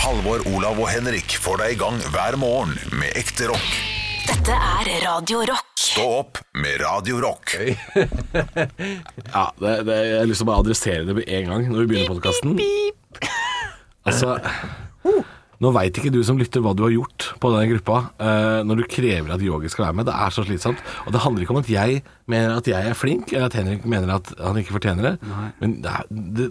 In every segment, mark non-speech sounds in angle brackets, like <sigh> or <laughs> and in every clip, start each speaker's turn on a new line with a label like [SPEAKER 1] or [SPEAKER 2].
[SPEAKER 1] Halvor, Olav og Henrik får deg i gang hver morgen med ekte rock.
[SPEAKER 2] Dette er Radio Rock.
[SPEAKER 1] Stå opp med Radio Rock.
[SPEAKER 3] Ja, det, det, jeg har lyst til å bare adressere det med en gang når vi begynner podkasten. Altså Nå veit ikke du som lytter hva du har gjort på den gruppa eh, når du krever at yogi skal være med. Det er så slitsomt. Og det handler ikke om at jeg mener at jeg er flink, eller at Henrik mener at han ikke fortjener det. Men det, er- det,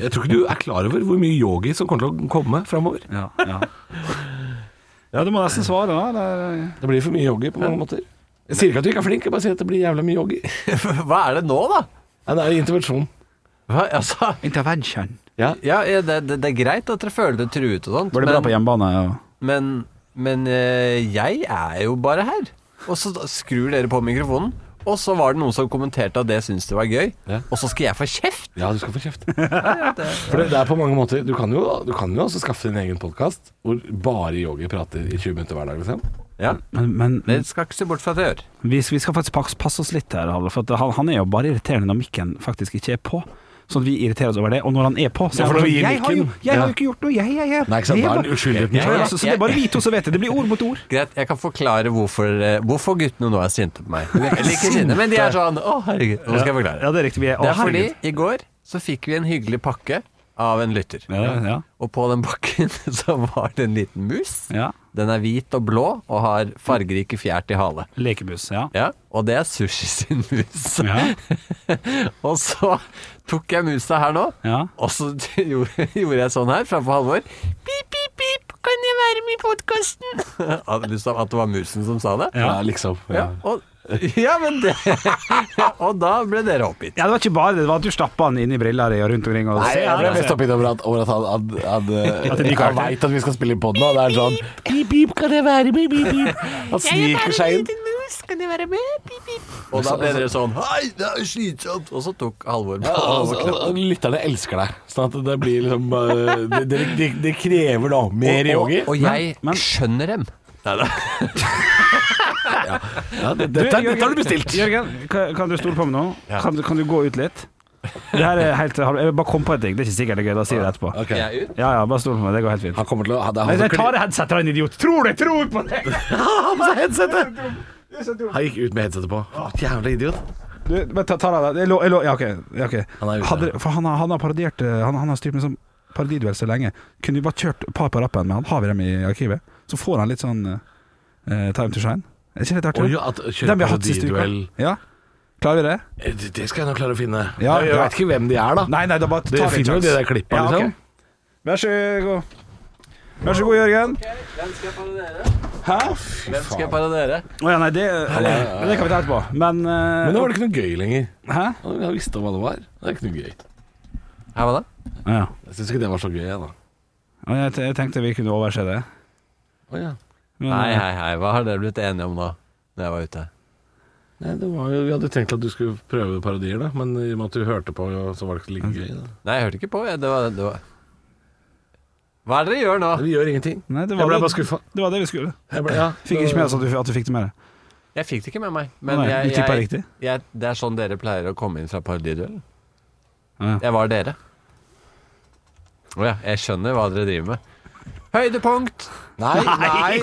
[SPEAKER 3] jeg tror ikke du er klar over hvor mye yogi som kommer til å komme framover.
[SPEAKER 4] Ja, ja. ja, du må nesten svare, da. eller?
[SPEAKER 3] Det blir for mye yogi på mange måter. Jeg sier ikke at du ikke er flink, jeg bare sier at det blir jævla mye yogi.
[SPEAKER 5] <laughs> Hva er det nå, da?
[SPEAKER 3] Nei, det er intervensjon.
[SPEAKER 5] Hva, altså,
[SPEAKER 4] Intervention.
[SPEAKER 5] ja, ja, det, det, det er greit at dere føler dere truet og sånt,
[SPEAKER 4] Var det bra på
[SPEAKER 5] men,
[SPEAKER 4] hjemmebane? Ja.
[SPEAKER 5] men, men eh, jeg er jo bare her. Og så skrur dere på mikrofonen, og så var det noen som kommenterte at det syntes det var gøy.
[SPEAKER 3] Ja.
[SPEAKER 5] Og så skal jeg få kjeft!
[SPEAKER 3] <laughs> Ja, du skal få kjeft. For det, det er på mange måter Du kan jo, du kan jo også skaffe din egen podkast hvor bare yogi prater i 20 minutter hver dag, liksom.
[SPEAKER 5] Ja,
[SPEAKER 4] Men, men
[SPEAKER 5] Det skal ikke se bort fra at jeg gjør.
[SPEAKER 4] vi, vi skal faktisk pass- passe oss litt her, Halvor, for at han, han er jo bare irriterende når mikken faktisk ikke er på. Sånn at vi irriterer oss over det. Og når han er på, så
[SPEAKER 3] Ja,
[SPEAKER 4] er
[SPEAKER 3] for når
[SPEAKER 4] han sånn,
[SPEAKER 3] vi gir
[SPEAKER 4] jeg, har jo,
[SPEAKER 3] mikken,
[SPEAKER 4] jeg har
[SPEAKER 3] ja.
[SPEAKER 4] jo ikke gjort noe, jeg, jeg, jeg.
[SPEAKER 3] Nei, ikke sant,
[SPEAKER 4] Det er
[SPEAKER 3] da er
[SPEAKER 4] bare-
[SPEAKER 3] den uskyldigheten
[SPEAKER 4] Ja, ja,
[SPEAKER 3] sjøl.
[SPEAKER 4] så, så det er bare vi to som vet det. Det blir ord mot ord.
[SPEAKER 5] Greit, jeg kan forklare hvorfor, eh, hvorfor guttene nå er sinte på
[SPEAKER 4] <laughs>
[SPEAKER 5] meg. Eller ikke sinte, men de er sånn Å, herregud. Nå skal jeg
[SPEAKER 4] Ja,
[SPEAKER 5] forklare.
[SPEAKER 4] det er riktig. Vi er
[SPEAKER 5] Det er fordi
[SPEAKER 4] avfølget.
[SPEAKER 5] i går så fikk vi en hyggelig pakke av en lytter.
[SPEAKER 4] Ja, ja,
[SPEAKER 5] Og på den pakken <laughs> så var det en liten mus.
[SPEAKER 4] ja.
[SPEAKER 5] Den er hvit og blå og har fargerike fjær til hale.
[SPEAKER 4] Lekebuss, ja.
[SPEAKER 5] Ja, og det er sushi sin mus.
[SPEAKER 4] Ja,
[SPEAKER 5] <laughs> Og så tok jeg musa her nå,
[SPEAKER 4] ja.
[SPEAKER 5] og så <laughs> gjorde gjorde jeg sånn her framfor Halvor. Pip, pip, pip, kan jeg være med i podkasten? Hadde lyst til <laughs> at det var musen som sa det.
[SPEAKER 3] Ja, liksom.
[SPEAKER 5] Ja,
[SPEAKER 3] Ja.
[SPEAKER 5] og, ja men det <laughs> Og da ble dere oppgitt.
[SPEAKER 4] Ja, det var ikke bare det, det var at du stappa han inn i briller og rundt omkring. Og
[SPEAKER 3] Nei,
[SPEAKER 4] ser
[SPEAKER 3] jeg ble
[SPEAKER 4] det.
[SPEAKER 3] mest oppgitt over at, over <laughs> at han, han, han, eh,
[SPEAKER 4] det er de
[SPEAKER 3] han
[SPEAKER 4] karakter.
[SPEAKER 3] veit at vi skal spille på den, og det er sånn Pip, pip, kan jeg være med? Pip, pip. <laughs> Han sniker seg inn.
[SPEAKER 5] Og da ble dere sånn Hei, det er slitsomt! Og så tok Halvor på
[SPEAKER 3] Ja, altså,
[SPEAKER 5] overkroppen.
[SPEAKER 3] og- og lytterne elsker deg. Sånn at det blir liksom eh, Det de, de, de krever da mer yogi.
[SPEAKER 5] Og jeg
[SPEAKER 4] men-
[SPEAKER 5] skjønner dem.
[SPEAKER 3] Ja, det, dette, er- dette har du bestilt.
[SPEAKER 4] Jørgen, kan, kan du stole på meg nå? Kan, du- kan du gå ut litt? Det her er helt, jeg bare kom på en ting, det er ikke sikkert det er gøy, da sier jeg det etterpå.
[SPEAKER 3] Ok.
[SPEAKER 5] Jeg er ut.
[SPEAKER 4] Ja, ja, bare stol på meg, det går helt fint.
[SPEAKER 3] Han kommer til å det er han
[SPEAKER 4] Nei,
[SPEAKER 3] som
[SPEAKER 4] jeg tar det headsetet, han idiot. Tror det, tror på det!
[SPEAKER 3] Han gikk ut med headsetet på. Jævla idiot.
[SPEAKER 4] Du, men ta, ta det, jeg lå, jeg lå, ja, ok. Ja, ok.
[SPEAKER 3] Han er ute.
[SPEAKER 4] Hadde, for han, har- han har parodiert, eh, han, han har styrt med sånn parodiduell så lenge. Kunne vi bare kjørt et par på rappen med han, har vi dem i arkivet? Så får han litt sånn eh, time to shine. Er ikke det litt artig?
[SPEAKER 3] Oi, at kjøre
[SPEAKER 4] Den vi har hatt siste uka.
[SPEAKER 3] parodiduell.
[SPEAKER 4] Ja. Klarer vi det?
[SPEAKER 3] Eh, Det det skal jeg nok klare å finne.
[SPEAKER 4] Ja,
[SPEAKER 3] jeg jeg
[SPEAKER 4] ja.
[SPEAKER 3] veit ikke hvem de er, da.
[SPEAKER 4] Nei, nei, da bare tar vi
[SPEAKER 3] Dere
[SPEAKER 4] en
[SPEAKER 3] finner jo
[SPEAKER 4] sjanse.
[SPEAKER 3] de der klippa,
[SPEAKER 4] Ja, ok.
[SPEAKER 3] liksom.
[SPEAKER 4] Vær så god. Vær så god, Jørgen.
[SPEAKER 5] Hvem skal jeg parodiere?
[SPEAKER 4] Hæ?
[SPEAKER 5] Hvem skal jeg parodiere?
[SPEAKER 4] Å ja, nei, det, det kan vi ta etterpå. Men, eh,
[SPEAKER 3] Men nå var det ikke noe gøy lenger.
[SPEAKER 4] Hæ?
[SPEAKER 3] Jeg visste hva det var. Det er ikke noe gøy.
[SPEAKER 5] Ja, hva da?
[SPEAKER 4] Å ja.
[SPEAKER 3] Jeg syns ikke det var så gøy, jeg, da.
[SPEAKER 4] Å, Jeg, te- jeg tenkte vi kunne overse det.
[SPEAKER 3] Å ja.
[SPEAKER 4] Men,
[SPEAKER 5] Nei,
[SPEAKER 4] eh,
[SPEAKER 5] hei, hei. Hva har dere blitt enige om da? Når jeg var ute.
[SPEAKER 3] Nei, det var jo, Vi hadde tenkt at du skulle prøve parodier, da, men i og med at du hørte på, ja, så var det ikke
[SPEAKER 4] Mm.
[SPEAKER 3] like gøy. Da.
[SPEAKER 5] Nei, jeg hørte ikke på. Jeg, det var, det var. Hva er det dere gjør nå?
[SPEAKER 3] Men Vi gjør ingenting.
[SPEAKER 4] Nei, Ah. det,
[SPEAKER 3] Jeg
[SPEAKER 4] var
[SPEAKER 3] ble
[SPEAKER 4] det,
[SPEAKER 3] bare skuffa.
[SPEAKER 4] det var det vi skulle.
[SPEAKER 3] Jeg ble- Ja,
[SPEAKER 4] Fikk ikke med oss at du, at du fikk det med deg.
[SPEAKER 5] Jeg fikk det ikke med meg.
[SPEAKER 4] Å
[SPEAKER 5] Men
[SPEAKER 4] nei,
[SPEAKER 5] jeg,
[SPEAKER 4] du tippa
[SPEAKER 5] jeg,
[SPEAKER 4] riktig?
[SPEAKER 5] jeg, det er sånn dere pleier å komme inn fra parodiduellen.
[SPEAKER 4] Ja.
[SPEAKER 5] Jeg var dere. Å ja, jeg skjønner hva dere driver med. Høydepunkt!
[SPEAKER 3] Nei, nei. nei,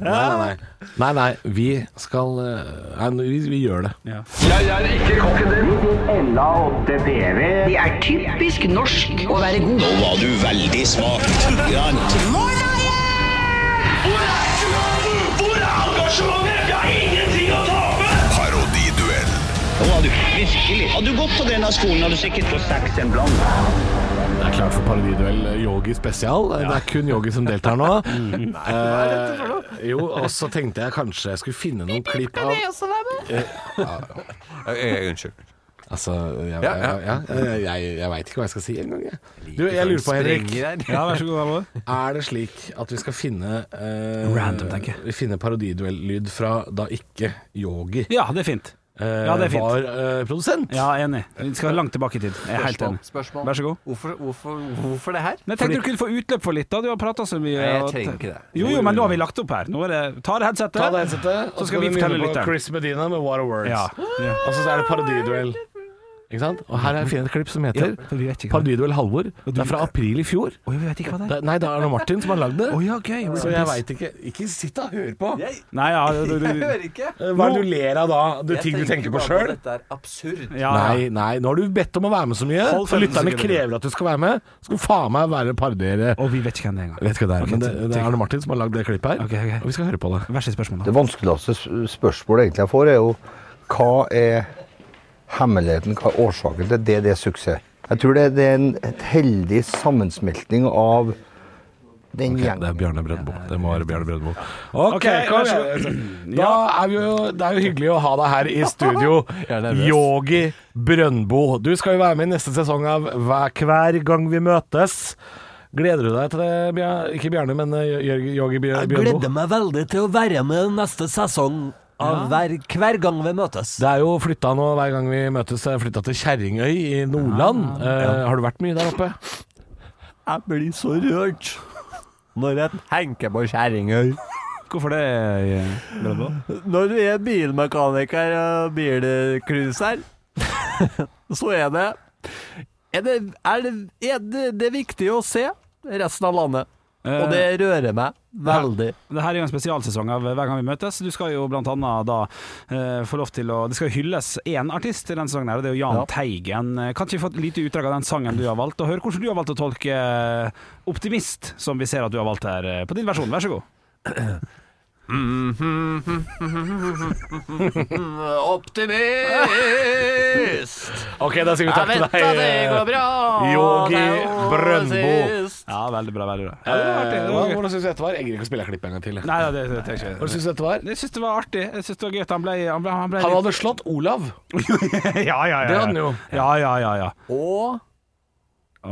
[SPEAKER 3] nei, nei. Nei, nei. Vi skal eh, Nei, vi, vi gjør det.
[SPEAKER 4] Ja.
[SPEAKER 6] Det er typisk norsk å være god.
[SPEAKER 7] Nå var du veldig smak. Tigran.
[SPEAKER 8] Hvor er engasjementet? Hvor er engasjementet? Jeg har ingenting å tape!
[SPEAKER 1] Parodiduell.
[SPEAKER 7] Nå var du virkelig. Hadde du gått på denne skolen, hadde du sikkert fått seks en blant.
[SPEAKER 3] Det er klart for parodiduell eh, yogi spesial. Det er kun yogi som deltar <laughs> nå. Eh, Mm. jo, og så tenkte jeg kanskje jeg skulle finne noen klipp av
[SPEAKER 5] Ø, ø, Eh, Unnskyld.
[SPEAKER 3] Altså, jeg,
[SPEAKER 5] Ja,
[SPEAKER 3] jeg,
[SPEAKER 5] ja.
[SPEAKER 3] jeg, jeg, jeg veit ikke hva jeg skal si engang, jeg. Du, jeg lurer på, Henrik.
[SPEAKER 5] Springer her.
[SPEAKER 4] ja, vær så god, Halvor.
[SPEAKER 3] Er det slik at vi skal finne eh,
[SPEAKER 4] Random, tenker jeg.
[SPEAKER 3] Vi finner parodiduell-lyd fra da ikke Yogi eh,
[SPEAKER 4] Ja, det er fint. Ja, det er fint.
[SPEAKER 3] var eh, produsent?
[SPEAKER 4] Ja, enig. Vi skal langt tilbake i tid. Jeg er helt
[SPEAKER 5] Spørsmål.
[SPEAKER 4] enig.
[SPEAKER 5] Spørsmål.
[SPEAKER 4] Vær så god.
[SPEAKER 5] Hvorfor, hvorfor, hvorfor det her?
[SPEAKER 4] Men jeg tenkte du kunne få utløp for litt, da. Du har prata så mye.
[SPEAKER 5] Nei, jeg
[SPEAKER 4] og-
[SPEAKER 5] trenger ikke det.
[SPEAKER 4] Jo, jo, men nå har vi lagt opp her. Nå er det Ta det headsetet.
[SPEAKER 3] Ta det headsetet,
[SPEAKER 4] Så
[SPEAKER 3] og
[SPEAKER 4] skal vi
[SPEAKER 3] nynne
[SPEAKER 4] fortelle
[SPEAKER 3] på
[SPEAKER 4] lytteren.
[SPEAKER 3] Chris Medina med What a Words.
[SPEAKER 4] Ja. ja.
[SPEAKER 3] Og så er det parodiduell. Ikke sant? Og her er finner jeg et klipp som heter
[SPEAKER 9] Ja, for vi vet ikke hva det
[SPEAKER 3] Parodiduell Halvor.
[SPEAKER 9] Og
[SPEAKER 3] Det
[SPEAKER 9] du-
[SPEAKER 3] er fra april i fjor.
[SPEAKER 9] Å, jeg vet ikke hva det er.
[SPEAKER 3] Det, nei, det er Arne Martin som har lagd det.
[SPEAKER 9] Å ja, gøy.
[SPEAKER 3] Så jeg veit ikke Ikke sitt og hør på! Eh,
[SPEAKER 5] Jeg,
[SPEAKER 4] Nei, ja, du, <laughs> du,
[SPEAKER 5] <laughs> jeg
[SPEAKER 4] du.
[SPEAKER 5] hører ikke.
[SPEAKER 3] Hva er det du ler av da? Det er ting du tenker på
[SPEAKER 5] bare
[SPEAKER 3] sjøl?
[SPEAKER 5] Dette er absurd.
[SPEAKER 4] Ja,
[SPEAKER 3] Nei, nei, nå har du bedt om å være med så mye.
[SPEAKER 4] Hold
[SPEAKER 3] For lytterne
[SPEAKER 4] femten sekunder.
[SPEAKER 3] krever at du skal være med. Så skal du faen meg være parodiere
[SPEAKER 9] Og vi vet ikke hvem det er engang.
[SPEAKER 3] Jeg vet ikke hva det er,
[SPEAKER 9] Ok,
[SPEAKER 3] men det,
[SPEAKER 9] tenk-
[SPEAKER 3] det er Arne Martin som har lagd det klippet her.
[SPEAKER 9] Ok, ok.
[SPEAKER 3] Og vi skal høre på det.
[SPEAKER 9] Vær så snill, spørsmål.
[SPEAKER 10] Det vanskeligste s- spørsmålet egentlig jeg får, er jo hva er hemmeligheten, hva er årsaken til det det er suksess? Jeg tror det, det er en et heldig sammensmelting av den
[SPEAKER 3] Ok,
[SPEAKER 10] gjengen.
[SPEAKER 3] det er Bjarne Brøndbo. Det må være Bjarne Brøndbo.
[SPEAKER 4] Ok,
[SPEAKER 3] Ok,
[SPEAKER 4] vær
[SPEAKER 3] kom
[SPEAKER 4] så
[SPEAKER 3] igjen. Da er vi jo, det er jo hyggelig å ha deg her
[SPEAKER 4] <laughs>
[SPEAKER 3] i studio,
[SPEAKER 5] Jeg er nervøs.
[SPEAKER 3] Yogi Brøndbo. Du skal jo være med i neste sesong av Hver, hver gang vi møtes. Gleder du deg til det, Bjar ikke Bjarne, men eh, Jør- Yogi Bjør- Brøndbo?
[SPEAKER 5] meg veldig til å være med neste sesong av hver, hver gang vi møtes.
[SPEAKER 3] Det er jo flytta nå hver gang vi møtes, det er flytta til Kjerringøy i Nordland. Eh, har du vært mye der oppe?
[SPEAKER 5] Jeg blir så rørt når jeg tenker på Kjerringøy.
[SPEAKER 4] Hvorfor det?
[SPEAKER 3] eh,
[SPEAKER 4] Brødbo?
[SPEAKER 5] Når du er bilmekaniker og bilcruiser, så er det er det, er det, er det, det er viktig å se resten av landet. Og det rører meg veldig.
[SPEAKER 4] Det her er jo en spesialsesong av Hver gang vi møtes. Du skal jo blant annet da eh, få lov til å Det skal hylles én artist i denne sesongen, her, og det er jo Jahn
[SPEAKER 5] Ja.
[SPEAKER 4] Teigen. Kan ikke vi få et lite utdrag av den sangen du har valgt, og høre hvordan du har valgt å tolke eh, 'Optimist', som vi ser at du har valgt her, eh, på din versjon. Vær så god.
[SPEAKER 5] Optimist!
[SPEAKER 3] Ok, da sier vi takk til deg. Yogi Brøndbo.
[SPEAKER 4] Ja, veldig bra, veldig bra. Ja, det var artig.
[SPEAKER 3] Eh,
[SPEAKER 4] Det
[SPEAKER 3] hva-
[SPEAKER 4] var gøy.
[SPEAKER 3] Hvordan syns du dette var? Jeg gidder ikke å spille klippet en gang til. jeg.
[SPEAKER 4] Nei, nei, det, det, det, det,
[SPEAKER 3] Hvordan
[SPEAKER 4] det.
[SPEAKER 3] syns du dette var?
[SPEAKER 4] Jeg syns det var artig. Jeg synes det var gøy at han ble, han ble, han ble
[SPEAKER 3] Han hadde slått Olav.
[SPEAKER 4] litt- <laughs> ja, ja, ja, ja.
[SPEAKER 3] Det hadde han jo.
[SPEAKER 4] Ja, ja, ja. ja.
[SPEAKER 5] Og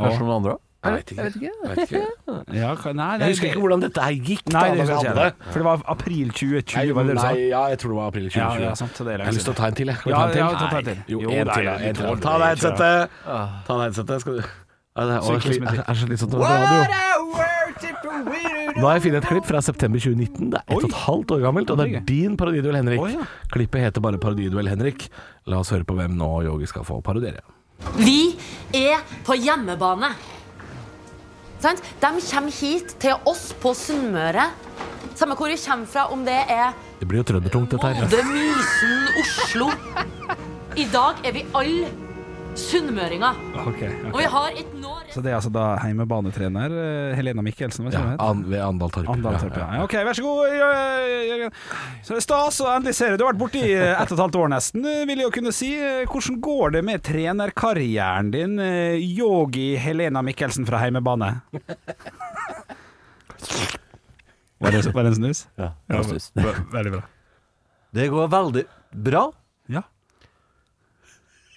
[SPEAKER 5] Kanskje noen andre òg?
[SPEAKER 3] Jeg vet ikke. Jeg, vet <laughs> ikke.
[SPEAKER 4] ja hva- nei, nei,
[SPEAKER 3] jeg husker ikke hvordan dette her gikk. da,
[SPEAKER 4] Nei, det
[SPEAKER 3] da vi
[SPEAKER 4] husker
[SPEAKER 3] hadde
[SPEAKER 4] jeg ikke. For det var april 2020, var
[SPEAKER 3] Nei,
[SPEAKER 4] det du sa?
[SPEAKER 3] nei, ja, jeg tror det var april 2020.
[SPEAKER 4] Ja, ja, sant, det er lenge
[SPEAKER 3] jeg har lyst til å ta en til, jeg. Kan vi
[SPEAKER 4] Ja,
[SPEAKER 3] ta en til?
[SPEAKER 4] ja, ta- ta en til.
[SPEAKER 3] Nei. Jo,
[SPEAKER 4] Jo,
[SPEAKER 3] en til.
[SPEAKER 4] nei, nei,
[SPEAKER 3] ja, en
[SPEAKER 4] du
[SPEAKER 3] til.
[SPEAKER 4] tåler
[SPEAKER 3] Ta deg
[SPEAKER 4] det, kjør.
[SPEAKER 3] headsetet. Ta deg headsetet. Skal du Ja, det er- å, jeg er- jeg er så litt sånn på radio. Nå har jeg funnet et klipp fra september 2019. Det er ett og et halvt år gammelt, og det er din parodiduell, Henrik.
[SPEAKER 4] Å, ja.
[SPEAKER 3] Klippet heter bare Parodiduell, Henrik. La oss høre på hvem nå Yogi skal få parodiere.
[SPEAKER 11] Vi er på hjemmebane. Sant? De kommer hit til oss på Sunnmøre. Samme hvor vi kommer fra, om det er
[SPEAKER 3] Det blir jo trøndertungt, dette her.
[SPEAKER 11] Molde, Mysen, Oslo. I dag er vi alle sunnmøringer. Og vi har et nå
[SPEAKER 9] Så det er altså da heimebanetrener eh, Helena Mikkelsen, hva
[SPEAKER 3] Ja,
[SPEAKER 9] sier hun? het?
[SPEAKER 3] an, ved Andal Torp.
[SPEAKER 9] Andal Torp,
[SPEAKER 3] Ja,
[SPEAKER 9] ja.
[SPEAKER 4] Ja, ok, vær så god, Jø- Jørgen. Så det er Stas å endelig se deg. Du har vært borte i eh, ett og et halvt år nesten, eh, vil jeg jo kunne si. Eh, Hvordan går det med trenerkarrieren din, eh, yogi Helena Mikkelsen fra <laughs> heimebane? Var det, var det en snus? <laughs> Veldig bra.
[SPEAKER 5] Det går veldig bra.
[SPEAKER 4] Ja.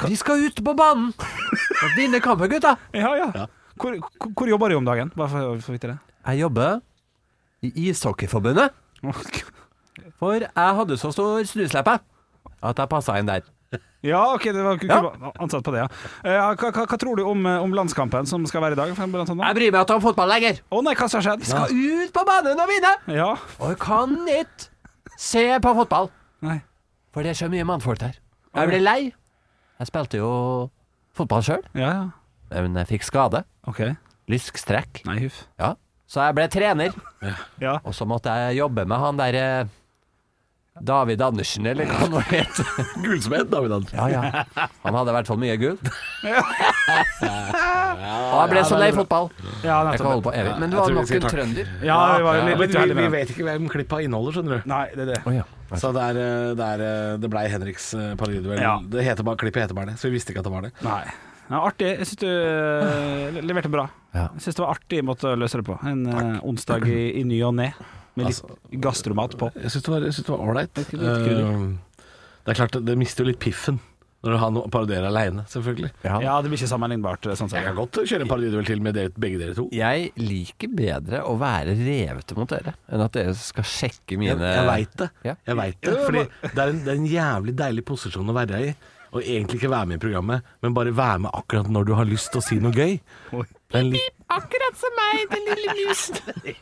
[SPEAKER 5] Vi skal ut på banen og vinne kampen, gutta!
[SPEAKER 4] Ja, ja. Hvor, hvor- hvor jobber du om dagen? Bare for å få vite det.
[SPEAKER 5] Jeg jobber i Ishockeyforbundet, for jeg hadde så stor snusleppe at jeg passa inn der.
[SPEAKER 4] <laughs> Ja, ok, det var ku-
[SPEAKER 5] Ja.
[SPEAKER 4] ku- ansatt på det, ja. Eh, ja, Hva, hva, hva tror du om, eh, om landskampen som skal være i dag? for blant annet?
[SPEAKER 5] Jeg bryr meg ikke om fotball lenger.
[SPEAKER 4] Å nei, hva som har skjedd?
[SPEAKER 5] Skal ut på banen og vinne!
[SPEAKER 4] Ja.
[SPEAKER 5] Og jeg kan ikke se på fotball,
[SPEAKER 4] Nei.
[SPEAKER 5] for det er så mye mannfolk der. Jeg ble lei. Jeg spilte jo fotball sjøl,
[SPEAKER 4] Ja, ja.
[SPEAKER 5] men jeg fikk skade.
[SPEAKER 4] Ok.
[SPEAKER 5] Lyskstrekk.
[SPEAKER 4] Nei, huff.
[SPEAKER 5] Ja. Så jeg ble trener.
[SPEAKER 4] Ja.
[SPEAKER 5] Og så måtte jeg jobbe med han derre David Andersen, eller hva han nå het.
[SPEAKER 3] Gullsmed, David Andersen.
[SPEAKER 5] Ja, ja. Han hadde i hvert fall mye gull. Og jeg ble så lei fotball.
[SPEAKER 4] Ja,
[SPEAKER 5] Jeg kan holde på evig. Men du
[SPEAKER 3] Jeg
[SPEAKER 5] var
[SPEAKER 3] tror vi
[SPEAKER 5] nok
[SPEAKER 3] sier
[SPEAKER 5] en
[SPEAKER 3] takk.
[SPEAKER 5] trønder.
[SPEAKER 4] Ja, vi var
[SPEAKER 3] Ja,
[SPEAKER 4] litt,
[SPEAKER 3] men
[SPEAKER 4] litt
[SPEAKER 3] vi,
[SPEAKER 4] uheldige
[SPEAKER 3] vi
[SPEAKER 4] med det.
[SPEAKER 3] vet ikke hvem klippa inneholder, skjønner du.
[SPEAKER 4] Nei, det er det.
[SPEAKER 3] Så det, er, eh, det, er, eh, det blei Henriks eh, parodiduell.
[SPEAKER 4] Ja.
[SPEAKER 3] Det heter bare, klippet heter bare det, så vi visste ikke at det var det.
[SPEAKER 4] Nei. Ja, artig. Jeg syns du eh, leverte bra.
[SPEAKER 5] Ja.
[SPEAKER 4] Jeg syns det var artig måte å løse det på. En eh, onsdag i, i ny og ne. Med litt gastromat på.
[SPEAKER 3] Jeg syns det var- jeg syns det var ålreit.
[SPEAKER 4] Det er ikke litt krydder.
[SPEAKER 3] Eh, Det er klart, det- det mister jo litt piffen når du har noe å parodiere aleine, selvfølgelig.
[SPEAKER 4] Ja, det blir ikke sammenlignbart. eh, Sånn
[SPEAKER 3] Jeg
[SPEAKER 4] sett.
[SPEAKER 3] kan godt kjøre en parodiduell til med dere, begge dere to.
[SPEAKER 5] Jeg liker bedre å være revete mot dere, enn at dere skal sjekke
[SPEAKER 3] Jeg,
[SPEAKER 5] mine
[SPEAKER 3] jeg veit det.
[SPEAKER 5] Ja.
[SPEAKER 3] Jeg vet det fordi det er, en, det er en jævlig deilig posisjon å være i. og egentlig ikke være med i programmet, men bare være med akkurat når du har lyst til å si noe gøy. Det er en litt
[SPEAKER 12] Akkurat som meg, den lille musen.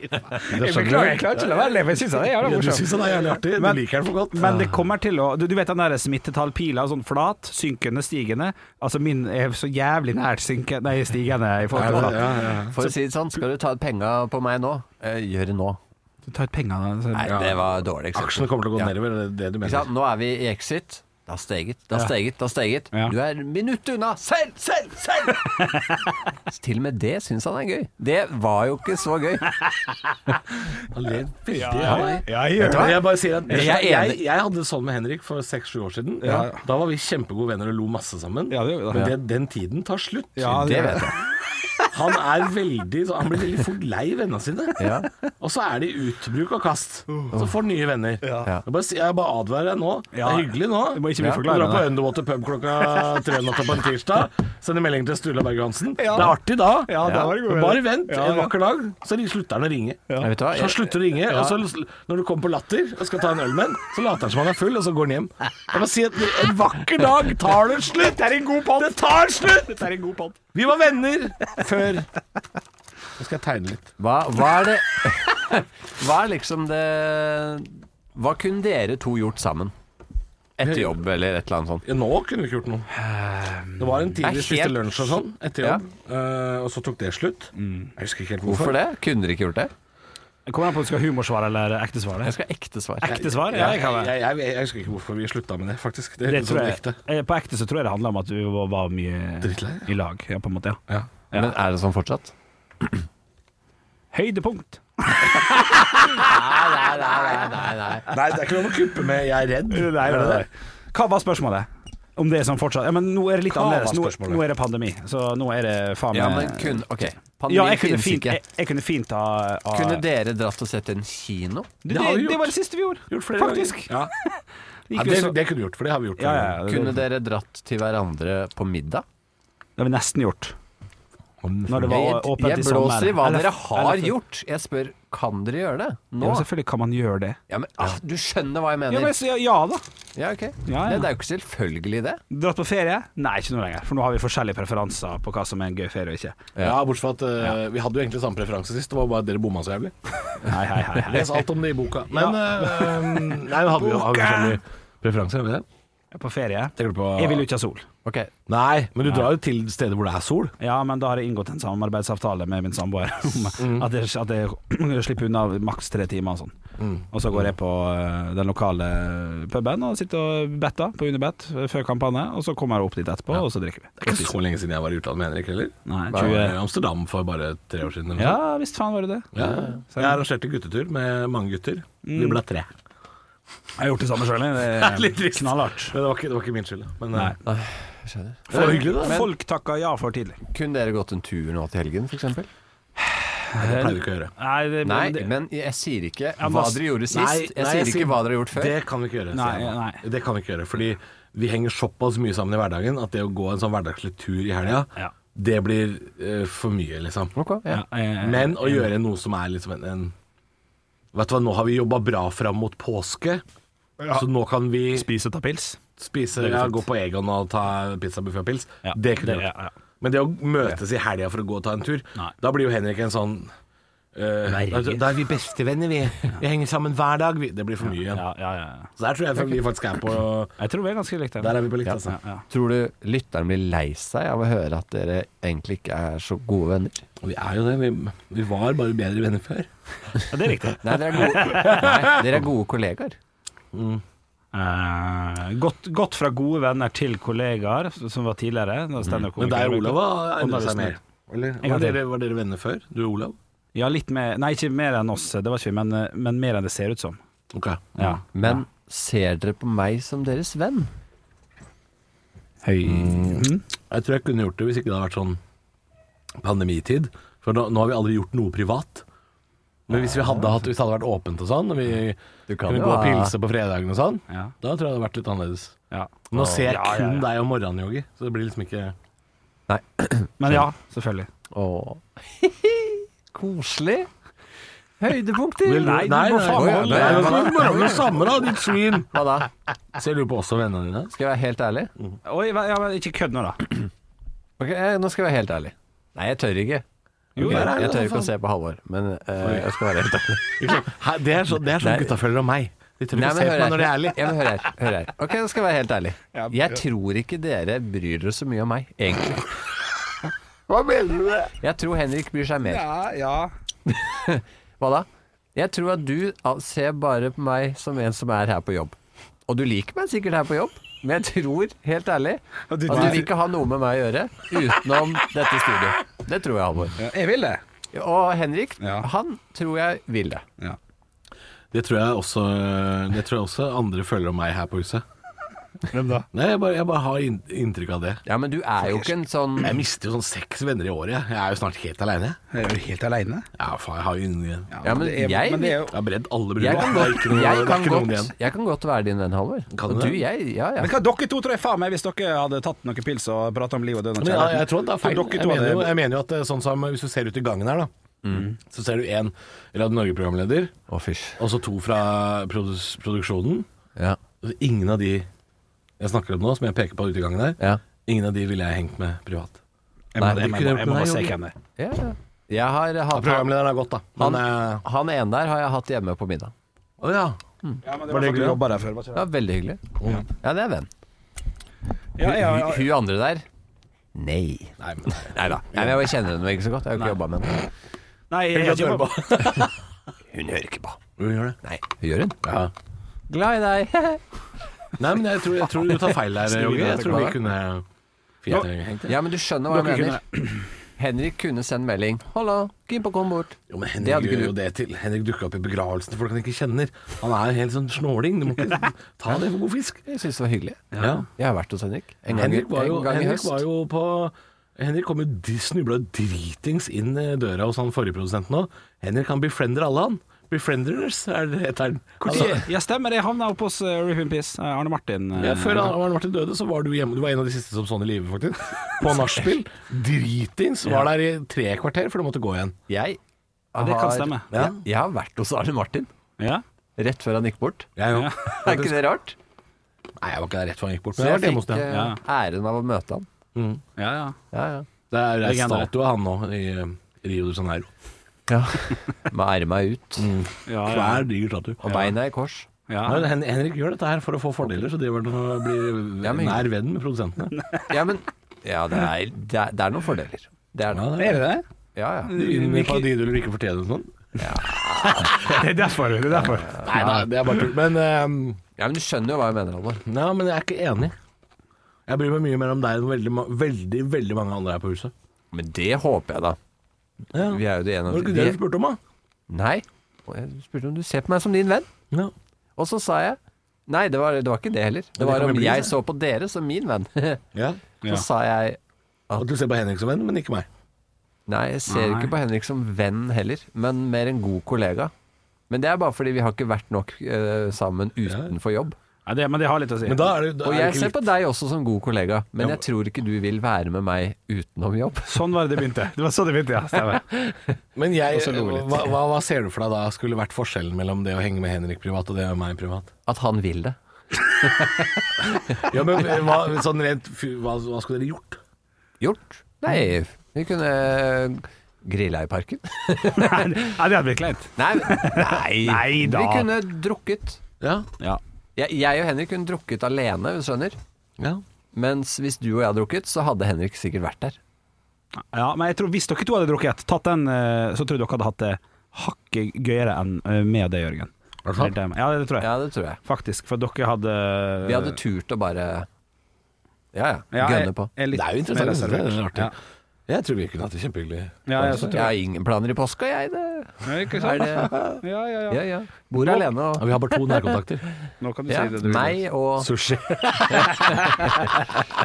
[SPEAKER 3] Jeg beklager, jeg klarer ikke å la være
[SPEAKER 4] men jeg synes det er jævla
[SPEAKER 3] Ja, du
[SPEAKER 4] morsomt.
[SPEAKER 3] synes han er jævlig artig. Du liker han for godt.
[SPEAKER 4] Men det kommer til å Du, du vet den der smittetallpila, sånn flat, synkende, stigende. Altså min er så jævlig nært synkende Nei, stigende i forhold til flat.
[SPEAKER 5] For å si det sånn, skal du ta ut penga på meg nå? Eh, gjør det nå.
[SPEAKER 4] Så ta ut pengene. så-
[SPEAKER 5] Nei, det var dårlig eksempel.
[SPEAKER 3] Aksjene kommer til å gå nedover, det er det du
[SPEAKER 5] Ikke
[SPEAKER 3] mener.
[SPEAKER 5] sant? Nå er vi i exit. Det har steget, det har
[SPEAKER 3] Ja.
[SPEAKER 5] steget, det har steget. Du er minuttet unna. Selv, selv, selv! Så Til og med det syns han er gøy. Det var jo ikke så gøy.
[SPEAKER 3] Han ler veldig
[SPEAKER 5] Ja,
[SPEAKER 3] av meg.
[SPEAKER 5] ja, jeg gjør
[SPEAKER 3] Vet du hva?
[SPEAKER 5] det.
[SPEAKER 3] Jeg bare sier at
[SPEAKER 5] Jeg
[SPEAKER 3] jeg,
[SPEAKER 5] er
[SPEAKER 3] jeg,
[SPEAKER 5] enig.
[SPEAKER 3] hadde det sånn med Henrik for seks-sju år siden.
[SPEAKER 5] Ja.
[SPEAKER 3] Da var vi kjempegode venner og lo masse sammen.
[SPEAKER 5] vi da.
[SPEAKER 3] Men det, den tiden tar slutt.
[SPEAKER 5] Ja, det vet jeg.
[SPEAKER 3] Han er veldig så Han blir veldig fort lei vennene sine.
[SPEAKER 5] Ja.
[SPEAKER 3] Og så er de utbruk og kast.
[SPEAKER 4] Uh.
[SPEAKER 3] Og så får han nye venner. Jeg, bare, sier- jeg bare advarer deg nå. Det er hyggelig nå.
[SPEAKER 4] Du må ikke bli for glad i
[SPEAKER 3] Dra på
[SPEAKER 4] det.
[SPEAKER 3] Underwater pub klokka tre natta på en tirsdag. Sende melding til Sturla Berg Johansen.
[SPEAKER 4] Ja.
[SPEAKER 3] Det er artig da.
[SPEAKER 4] Ja, da var det gode
[SPEAKER 3] Men Bare
[SPEAKER 4] venner.
[SPEAKER 3] vent
[SPEAKER 4] Ja,
[SPEAKER 3] en
[SPEAKER 4] ja.
[SPEAKER 3] vakker dag, så de slutter han å ringe.
[SPEAKER 5] Nei, vet du hva?
[SPEAKER 3] Så han slutter å ringe,
[SPEAKER 5] Ja.
[SPEAKER 3] og så l- når du kommer på latter og skal ta en øl med han, så later han som han er full, og så går han hjem. Jeg må si at En vakker dag tar det slutt! Dette er en god podd! Det tar slutt!
[SPEAKER 4] Dette er en god podd.
[SPEAKER 3] Vi var venner før. Nå skal jeg tegne litt.
[SPEAKER 5] Hva, hva er det <laughs> Hva er liksom det Hva kunne dere to gjort sammen? Etter jobb eller et eller annet sånt?
[SPEAKER 3] Nå kunne vi ikke gjort noe. Det var en tid vi
[SPEAKER 5] Det er
[SPEAKER 3] spiste
[SPEAKER 5] helt-
[SPEAKER 3] lunsj og sånn etter jobb, eh, og så tok det slutt.
[SPEAKER 4] Mm.
[SPEAKER 3] Jeg husker ikke helt hvorfor.
[SPEAKER 5] Hvorfor det? Kunne dere ikke gjort det?
[SPEAKER 4] Kommer an på om du skal ha humorsvar eller ekte svar.
[SPEAKER 5] Jeg skal ha ekte svar.
[SPEAKER 4] Ekte svar? Ja,
[SPEAKER 3] Jeg,
[SPEAKER 4] jeg kan
[SPEAKER 3] jeg,
[SPEAKER 4] være.
[SPEAKER 3] jeg, jeg, husker ikke hvorfor vi slutta med det, faktisk. Det,
[SPEAKER 4] Det
[SPEAKER 3] er
[SPEAKER 4] tror
[SPEAKER 3] sånn
[SPEAKER 4] jeg,
[SPEAKER 3] ekte.
[SPEAKER 4] eh, på ekte så tror jeg det handler om at du var- var mye i lag, ja, på en måte. Ja. Ja.
[SPEAKER 5] Men er det sånn fortsatt? <laughs>
[SPEAKER 4] Høydepunkt.
[SPEAKER 5] Nei, nei, nei. nei,
[SPEAKER 3] Nei, det er ikke lov å kuppe med 'jeg er redd'.
[SPEAKER 4] Nei, nei, nei. Hva var spørsmålet? Om det er sånn fortsatt Ja, men nå er det litt
[SPEAKER 5] Hva var
[SPEAKER 4] annerledes. Nå,
[SPEAKER 5] spørsmålet?
[SPEAKER 4] nå er det pandemi, så nå er det faen meg
[SPEAKER 5] Ja, men kun, ok. Pandemi
[SPEAKER 4] Ja, jeg kunne
[SPEAKER 5] finnes
[SPEAKER 4] fint,
[SPEAKER 5] ikke.
[SPEAKER 4] jeg, jeg kunne fint ha, ha
[SPEAKER 5] Kunne dere dratt og sett en kino?
[SPEAKER 4] Du, Det har det- vi det gjort. var det siste vi gjorde, Gjort flere faktisk. <laughs>
[SPEAKER 3] ganger.
[SPEAKER 4] Gikk
[SPEAKER 5] Ja,
[SPEAKER 4] jo
[SPEAKER 5] det-
[SPEAKER 4] så-
[SPEAKER 3] det kunne vi gjort, for det har vi gjort.
[SPEAKER 4] Ja, ja, det-
[SPEAKER 5] Kunne dere dratt til hverandre på middag?
[SPEAKER 4] Det har vi nesten gjort. Når det
[SPEAKER 5] Jeg,
[SPEAKER 4] var åpent
[SPEAKER 5] jeg
[SPEAKER 4] i sommer.
[SPEAKER 5] blåser i hva
[SPEAKER 4] Eller-
[SPEAKER 5] dere har
[SPEAKER 4] eller-
[SPEAKER 5] gjort. Jeg spør kan dere gjøre det nå?
[SPEAKER 4] Ja, selvfølgelig kan man gjøre det.
[SPEAKER 5] Ja, men, ah, du skjønner hva jeg mener.
[SPEAKER 4] Ja, men, så- ja, ja da.
[SPEAKER 5] Ja, ok.
[SPEAKER 4] Ja, ja.
[SPEAKER 5] Det, det er jo ikke selvfølgelig det.
[SPEAKER 4] Dratt på ferie? Nei, ikke noe lenger. For nå har vi forskjellige preferanser på hva som er en gøy ferie og ikke.
[SPEAKER 3] Ja, bortsett fra at eh, vi hadde jo egentlig samme preferanse sist, det var bare at dere bomma så jævlig.
[SPEAKER 4] Hei, hei, hei, hei.
[SPEAKER 3] Les alt om <laughs> det i boka. Men eh, <laughs> Nei, vi hadde jo hadde
[SPEAKER 4] Boka!
[SPEAKER 3] forskjellige preferanser, hadde vi det?
[SPEAKER 4] På ferie?
[SPEAKER 3] Tenker du på
[SPEAKER 4] Jeg vil jo ikke ha sol.
[SPEAKER 3] Nei, men du drar jo til steder hvor det er sol.
[SPEAKER 4] Ja, men da har jeg inngått en samarbeidsavtale med min samboer om at jeg, <clears throat> at jeg slipper unna maks tre timer og sånn. Og så går jeg på eh, den lokale puben og sitter og better på Unibet før kampene. Og så kommer jeg opp dit etterpå, og så drikker vi.
[SPEAKER 3] Det er ikke så lenge siden jeg var i utlandet med Henrik heller.
[SPEAKER 4] Nei,
[SPEAKER 3] Jeg var
[SPEAKER 4] 20.
[SPEAKER 3] i Amsterdam for bare tre år siden. eller noe
[SPEAKER 4] Ja
[SPEAKER 3] sånt.
[SPEAKER 4] visst faen var det det.
[SPEAKER 3] Ja, ja. Så Jeg arrangerte guttetur med mange gutter. Vi
[SPEAKER 4] Mm.
[SPEAKER 3] ble tre.
[SPEAKER 4] Jeg har gjort det samme sjøl,
[SPEAKER 3] Det
[SPEAKER 4] <laughs>
[SPEAKER 3] er litt
[SPEAKER 4] jeg.
[SPEAKER 3] trist.
[SPEAKER 4] Knallhardt.
[SPEAKER 3] Men det var ikke, det var ikke min skyld. Men,
[SPEAKER 4] Nei.
[SPEAKER 3] eh, Det var
[SPEAKER 4] Folk,
[SPEAKER 3] hyggelig, da.
[SPEAKER 4] folk takka ja for tidlig.
[SPEAKER 5] Kunne dere gått en tur nå til helgen, f.eks.?
[SPEAKER 3] Nei, det pleier vi ikke å gjøre.
[SPEAKER 4] Nei, det,
[SPEAKER 5] Nei,
[SPEAKER 4] det,
[SPEAKER 5] men jeg sier ikke
[SPEAKER 4] Ja,
[SPEAKER 5] hva
[SPEAKER 4] men-
[SPEAKER 5] dere gjorde sist.
[SPEAKER 3] Nei,
[SPEAKER 5] jeg
[SPEAKER 3] nei,
[SPEAKER 5] sier ikke hva dere har gjort før.
[SPEAKER 3] Det kan vi ikke gjøre. sier
[SPEAKER 4] Nei,
[SPEAKER 3] jeg nå.
[SPEAKER 4] nei.
[SPEAKER 3] Det kan vi ikke gjøre, fordi vi henger såpass mye sammen i hverdagen at det å gå en sånn hverdagslig tur i helga,
[SPEAKER 4] Ja.
[SPEAKER 3] det blir eh, for mye, liksom.
[SPEAKER 5] Ok,
[SPEAKER 4] ja,
[SPEAKER 5] ja.
[SPEAKER 4] jeg-
[SPEAKER 3] Men å gjøre noe som er liksom en, en Vet du hva, nå har vi jobba bra fram mot påske, så nå kan vi
[SPEAKER 4] Spise og ta pils.
[SPEAKER 3] spise
[SPEAKER 4] Det går
[SPEAKER 3] ja,
[SPEAKER 4] fint.
[SPEAKER 3] Gå på Egon og ta pizzabuffé og pils.
[SPEAKER 4] Ja,
[SPEAKER 3] det kunne
[SPEAKER 4] det-
[SPEAKER 3] vi gjort.
[SPEAKER 4] ja, ja.
[SPEAKER 3] Men det å møtes i helga for å gå og ta en tur,
[SPEAKER 4] Nei.
[SPEAKER 3] da blir jo Henrik en sånn eh, da, da er vi bestevenner,
[SPEAKER 4] <laughs>
[SPEAKER 3] vi. Vi henger sammen hver dag. Vi. Det blir for mye igjen.
[SPEAKER 4] Ja, ja, ja.
[SPEAKER 3] Så der tror jeg vi faktisk er på
[SPEAKER 4] Jeg tror vi er ganske likt.
[SPEAKER 3] Der er vi på likt, altså.
[SPEAKER 4] Ja, ja.
[SPEAKER 5] Tror du lytteren blir lei seg av å høre at dere egentlig ikke er så gode venner?
[SPEAKER 3] Vi er jo det. Vi, vi var bare bedre venner før.
[SPEAKER 4] Ja, det er riktig.
[SPEAKER 5] Nei, dere er
[SPEAKER 4] <laughs>
[SPEAKER 5] gode, nei, dere er gode kollegaer.
[SPEAKER 4] Eh, gått, gått fra gode venner til kollegaer, s- som var tidligere. da
[SPEAKER 3] Mm. Men
[SPEAKER 4] standup-komiker
[SPEAKER 3] deg og
[SPEAKER 4] brukte.
[SPEAKER 3] Olav har
[SPEAKER 4] Og da
[SPEAKER 3] endret
[SPEAKER 4] er det
[SPEAKER 3] seg mer.
[SPEAKER 4] snill.
[SPEAKER 3] Eller,
[SPEAKER 4] En gang
[SPEAKER 3] var,
[SPEAKER 4] til.
[SPEAKER 3] dere, var dere venner før, du og Olav?
[SPEAKER 4] Ja, litt mer Nei, ikke mer enn oss, det var ikke vi, men, eh, men mer enn det ser ut som.
[SPEAKER 3] Ok.
[SPEAKER 4] Ja.
[SPEAKER 5] Men ser dere på meg som deres venn?
[SPEAKER 4] Høy
[SPEAKER 3] Mm. Jeg tror jeg kunne gjort det hvis ikke det hadde vært sånn pandemitid. For nå, nå har vi aldri gjort noe privat. Men hvis vi hadde hatt Hvis det hadde vært åpent og sånn, og vi
[SPEAKER 5] kan
[SPEAKER 3] kunne
[SPEAKER 5] jo
[SPEAKER 3] gå og
[SPEAKER 5] ha-
[SPEAKER 3] pilse på fredagene og sånn,
[SPEAKER 4] Ja.
[SPEAKER 3] da tror jeg det hadde vært litt annerledes.
[SPEAKER 4] ja.
[SPEAKER 3] Nå ser jeg
[SPEAKER 4] Ja, ja,
[SPEAKER 3] kun
[SPEAKER 4] ja.
[SPEAKER 3] deg om morgenen, Yogi, så det blir liksom ikke <laughs>
[SPEAKER 4] Men ja, selvfølgelig.
[SPEAKER 5] Åh. Koselig. Høydepunkter?
[SPEAKER 3] Vil du-
[SPEAKER 5] Nei,
[SPEAKER 3] nei,
[SPEAKER 5] du må
[SPEAKER 3] nei,
[SPEAKER 5] faen
[SPEAKER 3] nei,
[SPEAKER 5] holde
[SPEAKER 3] nei,
[SPEAKER 5] deg.
[SPEAKER 3] nei, nei, nei, nei, nei, samme da, ditt svin.
[SPEAKER 5] Hva da?
[SPEAKER 3] Ser du på også vennene dine?
[SPEAKER 5] Skal jeg være helt ærlig?
[SPEAKER 4] Oi, hva- ja, men ikke kødd nå, da.
[SPEAKER 5] Ok, eh, Nå skal jeg være helt ærlig. Nei, jeg tør ikke.
[SPEAKER 3] Jo,
[SPEAKER 5] Ok,
[SPEAKER 3] det er det,
[SPEAKER 5] jeg tør ikke
[SPEAKER 3] faen.
[SPEAKER 5] å se på Halvor, men eh, jeg skal være helt ærlig.
[SPEAKER 3] Hæ, Det er så- det er sånn
[SPEAKER 5] Nei.
[SPEAKER 3] gutta føler om meg. De tør
[SPEAKER 5] Nei,
[SPEAKER 3] ikke å
[SPEAKER 5] men
[SPEAKER 3] se på
[SPEAKER 5] hør
[SPEAKER 3] meg
[SPEAKER 5] her.
[SPEAKER 3] når de er ærlig.
[SPEAKER 5] Ja, men hør her. Hør her. Ok, nå skal jeg være helt ærlig. Jeg tror ikke dere bryr dere så mye om meg, egentlig. Hva mener du med Jeg tror Henrik bryr seg mer.
[SPEAKER 4] Ja, ja.
[SPEAKER 5] Hva da? Jeg tror at du ah, ser bare på meg som en som er her på jobb. Og du liker meg sikkert her på jobb, men jeg tror, helt ærlig, at du vil ikke ha noe med meg å gjøre utenom dette studioet. Det tror jeg, Halvor.
[SPEAKER 4] Jeg vil det.
[SPEAKER 5] Og Henrik, han tror jeg vil det.
[SPEAKER 3] Det tror jeg også, det tror jeg også andre føler om meg her på huset.
[SPEAKER 4] Hvem da?
[SPEAKER 3] Nei, jeg bare, jeg bare har inn- inntrykk av det.
[SPEAKER 5] Ja, men du er jo ikke en sånn
[SPEAKER 3] Jeg mister jo sånn seks venner i året, jeg. Jeg er jo snart helt aleine.
[SPEAKER 4] Er du helt aleine?
[SPEAKER 3] Ja, faen, jeg har jo ingen
[SPEAKER 5] Ja, men
[SPEAKER 4] det er-
[SPEAKER 5] jeg-
[SPEAKER 4] men det er jo-
[SPEAKER 3] Jeg har bredd alle
[SPEAKER 5] Jeg
[SPEAKER 3] briller.
[SPEAKER 5] kan
[SPEAKER 3] Det er
[SPEAKER 5] godt,
[SPEAKER 3] ikke noe-
[SPEAKER 5] jeg
[SPEAKER 3] det er
[SPEAKER 5] kan
[SPEAKER 3] ikke noen
[SPEAKER 5] godt,
[SPEAKER 3] igjen.
[SPEAKER 5] jeg kan godt være din venn, Halvor.
[SPEAKER 3] Kan
[SPEAKER 5] Og
[SPEAKER 3] du
[SPEAKER 5] du,
[SPEAKER 3] det?
[SPEAKER 5] jeg Ja, ja.
[SPEAKER 4] Men hva dere to tror jeg faen meg hvis dere hadde tatt noen pils og prata om liv og død og
[SPEAKER 3] Men ja, jeg tror det er feil.
[SPEAKER 4] For dere
[SPEAKER 3] Jeg
[SPEAKER 4] to
[SPEAKER 3] mener, jo,
[SPEAKER 4] hadde
[SPEAKER 3] jeg mener jo at det er sånn som hvis du ser ut i gangen her, da. Så ser du én Radio Norge-programleder,
[SPEAKER 5] Å, fysj.
[SPEAKER 3] og så to fra produs produksjonen.
[SPEAKER 5] Ja.
[SPEAKER 3] Ingen av de jeg snakker om nå, som jeg peker på ute i gangen her,
[SPEAKER 5] Ja.
[SPEAKER 3] ingen av de ville jeg hengt med privat.
[SPEAKER 4] Jeg må-
[SPEAKER 3] de
[SPEAKER 4] jeg må-
[SPEAKER 3] kunne
[SPEAKER 4] jeg må
[SPEAKER 3] hjulpet
[SPEAKER 4] bare
[SPEAKER 3] meg,
[SPEAKER 4] se
[SPEAKER 3] jo.
[SPEAKER 4] hvem det er.
[SPEAKER 5] Ja, ja. Jeg har
[SPEAKER 3] Ja,
[SPEAKER 5] hatt han,
[SPEAKER 3] programlederen er godt, da. Men,
[SPEAKER 5] han, han ene der har jeg hatt hjemme på middag.
[SPEAKER 3] eh, å ja.
[SPEAKER 4] Ja, men det
[SPEAKER 3] Var
[SPEAKER 4] var
[SPEAKER 3] det
[SPEAKER 4] folk
[SPEAKER 3] hyggelig?
[SPEAKER 4] som jobba der før. var ikke
[SPEAKER 5] Det var veldig hyggelig. Ja, det er venn.
[SPEAKER 4] Ja, ja, ja.
[SPEAKER 5] Hun andre der Nei.
[SPEAKER 3] Nei, men nei.
[SPEAKER 5] Nei da. Nei, men jeg kjenner henne ikke så godt. Jeg har ikke jobba med henne.
[SPEAKER 4] Nei, jeg, jeg,
[SPEAKER 3] <laughs>
[SPEAKER 4] jeg,
[SPEAKER 5] Hun hører ikke på.
[SPEAKER 3] Jo, gjør det.
[SPEAKER 5] Nei, hun gjør hun.
[SPEAKER 3] Ja.
[SPEAKER 5] Glad i deg.
[SPEAKER 3] Nei, men jeg tror, jeg tror du tar feil
[SPEAKER 5] <laughs>
[SPEAKER 3] her,
[SPEAKER 5] Snur
[SPEAKER 3] Jorge.
[SPEAKER 5] deg
[SPEAKER 3] Jeg tror vi
[SPEAKER 5] tilbake.
[SPEAKER 3] kunne fint hengt det.
[SPEAKER 5] <laughs> Ja, men du skjønner hva jeg
[SPEAKER 4] Dere
[SPEAKER 5] mener. Henrik kunne sendt melding. 'Hallo, keen på å komme bort'.
[SPEAKER 3] Jo, men
[SPEAKER 5] Det
[SPEAKER 3] Henrik
[SPEAKER 5] hadde ikke
[SPEAKER 3] gjør
[SPEAKER 5] du.
[SPEAKER 3] jo det til. Henrik dukker opp i begravelsen til folk han ikke kjenner. Han er en helt sånn snåling. Du må
[SPEAKER 5] <laughs>
[SPEAKER 3] ikke ta det for god fisk.
[SPEAKER 5] Jeg syns det var hyggelig.
[SPEAKER 3] Ja.
[SPEAKER 5] Jeg har vært hos Henrik en gang, i-
[SPEAKER 3] Henrik var jo,
[SPEAKER 5] en gang i
[SPEAKER 3] Henrik
[SPEAKER 5] høst.
[SPEAKER 3] var jo på Henrik kom jo de- snubla dritings inn eh, døra hos han forrige produsenten òg. Henrik han befriender alle, han. Befrienders er det heter han. Altså,
[SPEAKER 4] jeg, jeg stemmer, jeg havna opp hos eh, Rip in Peace. eh, Arne Martin. eh,
[SPEAKER 3] ja,
[SPEAKER 5] Mm.
[SPEAKER 3] før han- Arne Martin døde, så var du hjemme. Du var en av de siste som så han i live,
[SPEAKER 5] <laughs>
[SPEAKER 3] faktisk. På nachspiel. Dritings. Var der i tre kvarter før du måtte gå igjen.
[SPEAKER 5] Jeg
[SPEAKER 4] Ja, det kan
[SPEAKER 5] har-
[SPEAKER 4] stemme.
[SPEAKER 5] Ja. Jeg har vært hos Arne Martin
[SPEAKER 4] Ja.
[SPEAKER 5] rett før han gikk bort.
[SPEAKER 3] Jeg òg.
[SPEAKER 5] <laughs> Er ikke det rart?
[SPEAKER 3] Nei, jeg var ikke der rett før han gikk bort.
[SPEAKER 5] Så
[SPEAKER 3] Men jeg
[SPEAKER 5] jeg
[SPEAKER 3] var hjemme hos
[SPEAKER 5] fikk
[SPEAKER 3] deg.
[SPEAKER 5] eh, æren av å møte han.
[SPEAKER 4] ja, ja.
[SPEAKER 5] Ja, ja.
[SPEAKER 3] Det er en
[SPEAKER 4] Legende.
[SPEAKER 3] statue av han nå i eh, Rio de Janeiro.
[SPEAKER 5] ja. <laughs> Mm. Med erma ut
[SPEAKER 4] Ja, ja.
[SPEAKER 3] Hver diger statue.
[SPEAKER 5] og beina i kors.
[SPEAKER 4] Ja.
[SPEAKER 3] Nei, Hen- Henrik gjør dette her for å få fordeler, så driver han og blir
[SPEAKER 5] Ja, men-
[SPEAKER 3] nær venn med produsentene.
[SPEAKER 5] Ja, men Ja, det er, det er, det er noen fordeler. Det
[SPEAKER 3] Ja,
[SPEAKER 5] er noe.
[SPEAKER 3] det er
[SPEAKER 4] det?
[SPEAKER 5] Ja, ja.
[SPEAKER 3] Du vinner på de du ikke fortjener og sånn.
[SPEAKER 4] Det er derfor. Det er derfor.
[SPEAKER 3] Nei, nei, det er bare tull. Men, ehm,
[SPEAKER 5] ja men du skjønner jo hva jeg mener, Halvor.
[SPEAKER 3] ja, men jeg er ikke enig. Jeg bryr meg mye mer om deg enn veldig, ma- veldig veldig mange andre her på huset.
[SPEAKER 5] Men det håper jeg, da.
[SPEAKER 3] Ja.
[SPEAKER 5] Vi er jo det ene
[SPEAKER 3] Var det
[SPEAKER 5] av
[SPEAKER 3] ikke det du spurte om, da?
[SPEAKER 5] Nei. Og Jeg spurte om du ser på meg som din venn.
[SPEAKER 3] Ja.
[SPEAKER 5] Og så sa jeg Nei, det var, det var ikke det heller. Det
[SPEAKER 3] det
[SPEAKER 5] var
[SPEAKER 3] kan
[SPEAKER 5] om
[SPEAKER 3] vi bli,
[SPEAKER 5] jeg
[SPEAKER 3] det.
[SPEAKER 5] så på dere som min venn. <laughs>
[SPEAKER 3] ja.
[SPEAKER 5] Så sa jeg
[SPEAKER 3] At du ser på Henrik som venn, men ikke meg.
[SPEAKER 5] Nei, jeg ser
[SPEAKER 4] Nei.
[SPEAKER 5] ikke på Henrik som venn heller, men mer en god kollega. Men det er bare fordi vi har ikke vært nok eh, sammen utenfor jobb.
[SPEAKER 4] Ja, det, men det har litt å si.
[SPEAKER 3] Men da er det, da
[SPEAKER 5] Og
[SPEAKER 3] er det
[SPEAKER 5] jeg
[SPEAKER 3] ikke
[SPEAKER 5] ser på deg også som god kollega, men jeg tror ikke du vil være med meg utenom jobb.
[SPEAKER 4] Sånn var det det begynte. Det var sånn det begynte, ja. Stemmer. <laughs>
[SPEAKER 3] Men jeg,
[SPEAKER 4] Og så lo vi litt.
[SPEAKER 3] hva, hva, hva ser du for deg da skulle vært forskjellen mellom det å henge med Henrik privat og det å henge med meg privat?
[SPEAKER 5] At han vil det.
[SPEAKER 3] Ja, men hva, sånn rent, fy- hva, hva skulle dere gjort?
[SPEAKER 5] Gjort? Nei, vi kunne grilla i parken.
[SPEAKER 4] Nei, det hadde blitt kleint.
[SPEAKER 5] <laughs> Nei, nei,
[SPEAKER 4] Nei da.
[SPEAKER 5] vi kunne drukket.
[SPEAKER 3] Ja,
[SPEAKER 4] Ja.
[SPEAKER 5] Jeg, jeg og Henrik kunne drukket alene, hvis du skjønner.
[SPEAKER 3] ja.
[SPEAKER 5] Mens hvis du og jeg hadde drukket, så hadde Henrik sikkert vært der.
[SPEAKER 4] ja, men jeg tror hvis dere to hadde drukket, tatt den, eh, så tror jeg dere hadde hatt det hakket gøyere enn eh, med det, Jørgen.
[SPEAKER 3] sant?
[SPEAKER 4] Det er det- Ja, det tror jeg.
[SPEAKER 5] Ja, det tror jeg.
[SPEAKER 4] Faktisk. For dere hadde
[SPEAKER 5] Vi hadde turt å bare Ja, ja.
[SPEAKER 4] Ja, jeg-
[SPEAKER 5] gønne på.
[SPEAKER 4] jeg er litt
[SPEAKER 3] Det er jo interessant,
[SPEAKER 4] mer
[SPEAKER 3] jeg synes det er
[SPEAKER 4] reservert.
[SPEAKER 3] artig. Jeg tror vi kunne hatt det kjempehyggelig.
[SPEAKER 4] Ja, ja, så
[SPEAKER 5] Jeg har ingen planer i påska, jeg. Det.
[SPEAKER 4] Ja, ikke
[SPEAKER 5] Er
[SPEAKER 4] sant?
[SPEAKER 5] det
[SPEAKER 4] <laughs> Ja, ja, ja.
[SPEAKER 5] Ja, ja. Bor alene
[SPEAKER 3] Ja,
[SPEAKER 5] og
[SPEAKER 3] vi har bare to nærkontakter.
[SPEAKER 4] Nå kan du
[SPEAKER 5] ja,
[SPEAKER 4] si det du vil.
[SPEAKER 5] Meg og
[SPEAKER 3] Sushi. <laughs>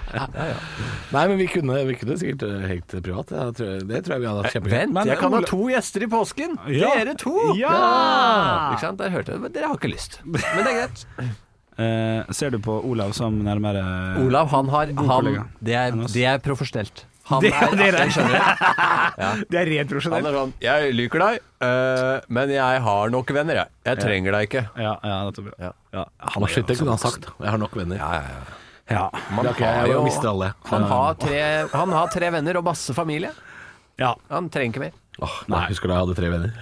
[SPEAKER 3] Nei, men vi kunne, vi kunne sikkert eh, hengt privat. Ja, det tror jeg- det tror jeg vi hadde hatt kjempegøy.
[SPEAKER 5] Vent,
[SPEAKER 4] Men
[SPEAKER 5] jeg kan ha
[SPEAKER 4] Ole-
[SPEAKER 5] to gjester i påsken!
[SPEAKER 4] Ja.
[SPEAKER 5] Dere to!
[SPEAKER 4] Ja!
[SPEAKER 5] Ikke sant? Der hørte jeg det. Men Dere har ikke lyst. Men det er greit.
[SPEAKER 4] Eh, ser du på Olav som nærmere
[SPEAKER 5] Olav, han har
[SPEAKER 4] god
[SPEAKER 5] han,
[SPEAKER 4] kollega
[SPEAKER 5] det, er,
[SPEAKER 4] enn oss.
[SPEAKER 5] det er profesjonelt. Han
[SPEAKER 4] Det-
[SPEAKER 5] er
[SPEAKER 4] det er det.
[SPEAKER 5] artig, skjønner du. Ja.
[SPEAKER 4] Det er rent profesjonelt.
[SPEAKER 5] Han er sånn Jeg liker deg, eh, men jeg har nok venner, jeg. Jeg
[SPEAKER 4] Ja.
[SPEAKER 5] trenger deg ikke.
[SPEAKER 4] Ja, ja, nettopp.
[SPEAKER 5] Ja.
[SPEAKER 3] Han har slitt, det kunne han sagt. Jeg har nok venner. altså, Ja,
[SPEAKER 5] ja, ja.
[SPEAKER 3] Man det er ikke, jeg, jeg mister alle.
[SPEAKER 5] han, har tre, han har tre venner og masse familie.
[SPEAKER 4] Ja.
[SPEAKER 5] Han trenger ikke mer.
[SPEAKER 3] Åh, nei, husker du jeg hadde tre <laughs> venner?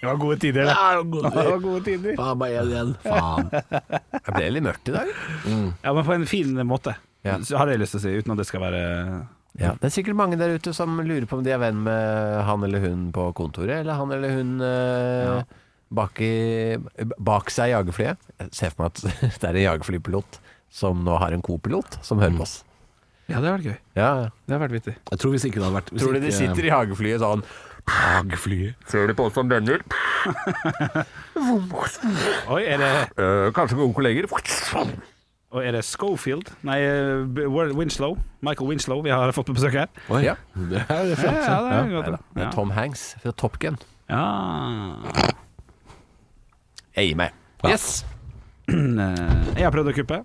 [SPEAKER 4] Det var gode tider, det. Det var gode tider.
[SPEAKER 3] Faen meg én igjen. Faen.
[SPEAKER 5] Jeg ble litt mørkt i dag.
[SPEAKER 4] Ja, men på en fin måte,
[SPEAKER 5] Ja.
[SPEAKER 4] Så har jeg lyst til å si, uten at det skal være
[SPEAKER 5] Ja, det er sikkert mange der ute som lurer på om de er venn med han eller hun på kontoret, eller han eller hun eh, bak, i, bak seg i jagerflyet. Jeg ser for meg at <laughs> det er en jagerflypilot som nå har en co-pilot som hører på oss.
[SPEAKER 4] Mm. Ja, det hadde vært gøy.
[SPEAKER 5] Ja,
[SPEAKER 4] Det hadde vært vittig.
[SPEAKER 3] Jeg tror hvis ikke det hadde vært hvis
[SPEAKER 5] Tror du de
[SPEAKER 3] ikke-
[SPEAKER 5] sitter i jagerflyet sånn
[SPEAKER 3] Jagerflyet.
[SPEAKER 5] Ser du på oss som venner?
[SPEAKER 4] Oi, er det,
[SPEAKER 5] «Øh, kanskje gode kolleger?
[SPEAKER 4] og er det Schofield? Nei, eh, B- Winslow. Michael Winslow vi har fått på besøk her.
[SPEAKER 3] Oi,
[SPEAKER 5] Ja.
[SPEAKER 3] det er det er flott.
[SPEAKER 4] Ja, ja, det er
[SPEAKER 3] Ja.
[SPEAKER 4] godt.
[SPEAKER 5] Neida, det er Tom Hanks fra Top Gun.
[SPEAKER 4] Ja.
[SPEAKER 5] Jeg gir meg. Yes!
[SPEAKER 4] Eh, Jeg har prøvd å kuppe.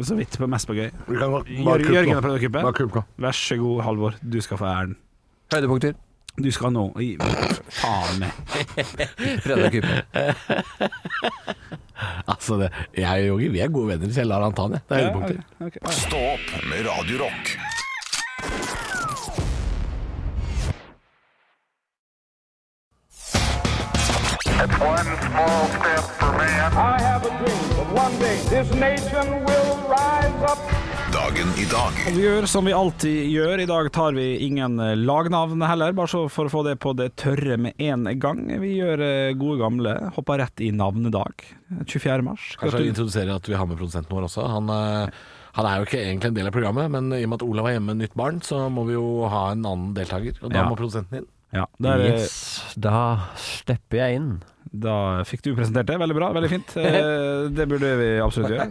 [SPEAKER 4] Så vidt, på mest på gøy.
[SPEAKER 3] Vi kan godt- bare
[SPEAKER 4] Jør-
[SPEAKER 3] kupp
[SPEAKER 4] Jørgen
[SPEAKER 3] nå.
[SPEAKER 4] har prøvd å kuppe.
[SPEAKER 3] Bare kupp nå.
[SPEAKER 4] Vær så god, Halvor. Du skal få æren.
[SPEAKER 5] Høydepunkter.
[SPEAKER 4] Du skal nå i Faen meg.
[SPEAKER 5] Fredrik Hyppe.
[SPEAKER 3] Altså, det, jeg og Yogi vi er gode venner, så jeg lar han ta den. jeg. Det er høydepunktet.
[SPEAKER 1] Stå opp med Radio Rock.
[SPEAKER 8] I have a dream that one day this nation will rise up.
[SPEAKER 1] Dagen i dag.
[SPEAKER 4] Og vi gjør som vi alltid gjør. I dag tar vi ingen eh, lagnavn heller, bare så for å få det på det tørre med en gang. Vi gjør eh, gode gamle. Hopper rett i navnedag. 24. mars.
[SPEAKER 3] Kanskje
[SPEAKER 4] Gratulerer.
[SPEAKER 3] introdusere at vi har med produsenten vår også. Han, eh, han er jo ikke egentlig en del av programmet, men i og med at Olav er hjemme med nytt barn, så må vi jo ha en annen deltaker. Og da
[SPEAKER 4] Ja.
[SPEAKER 3] må produsenten inn.
[SPEAKER 4] Ja, der, eh,
[SPEAKER 5] da stepper jeg inn.
[SPEAKER 4] Da fikk du presentert det. Veldig bra, veldig fint. Eh, Det burde vi absolutt gjøre.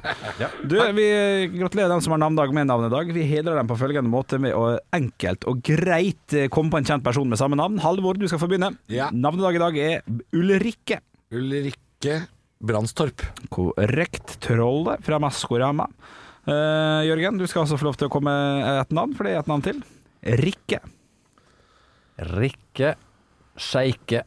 [SPEAKER 4] Du, vi gratulerer dem som har navnedag med navnedag. Vi hedrer dem på følgende måte med å enkelt og greit eh, komme på en kjent person med samme navn. Halvor, du skal få begynne.
[SPEAKER 3] Ja.
[SPEAKER 4] Navnedag i dag er Ulrikke.
[SPEAKER 3] Ulrikke Brandstorp.
[SPEAKER 4] Korrekt. Trollet fra Maskorama. Eh, Jørgen, du skal altså få lov til å komme med et navn, for det er et navn til. Rikke.
[SPEAKER 5] Rikke Skeike.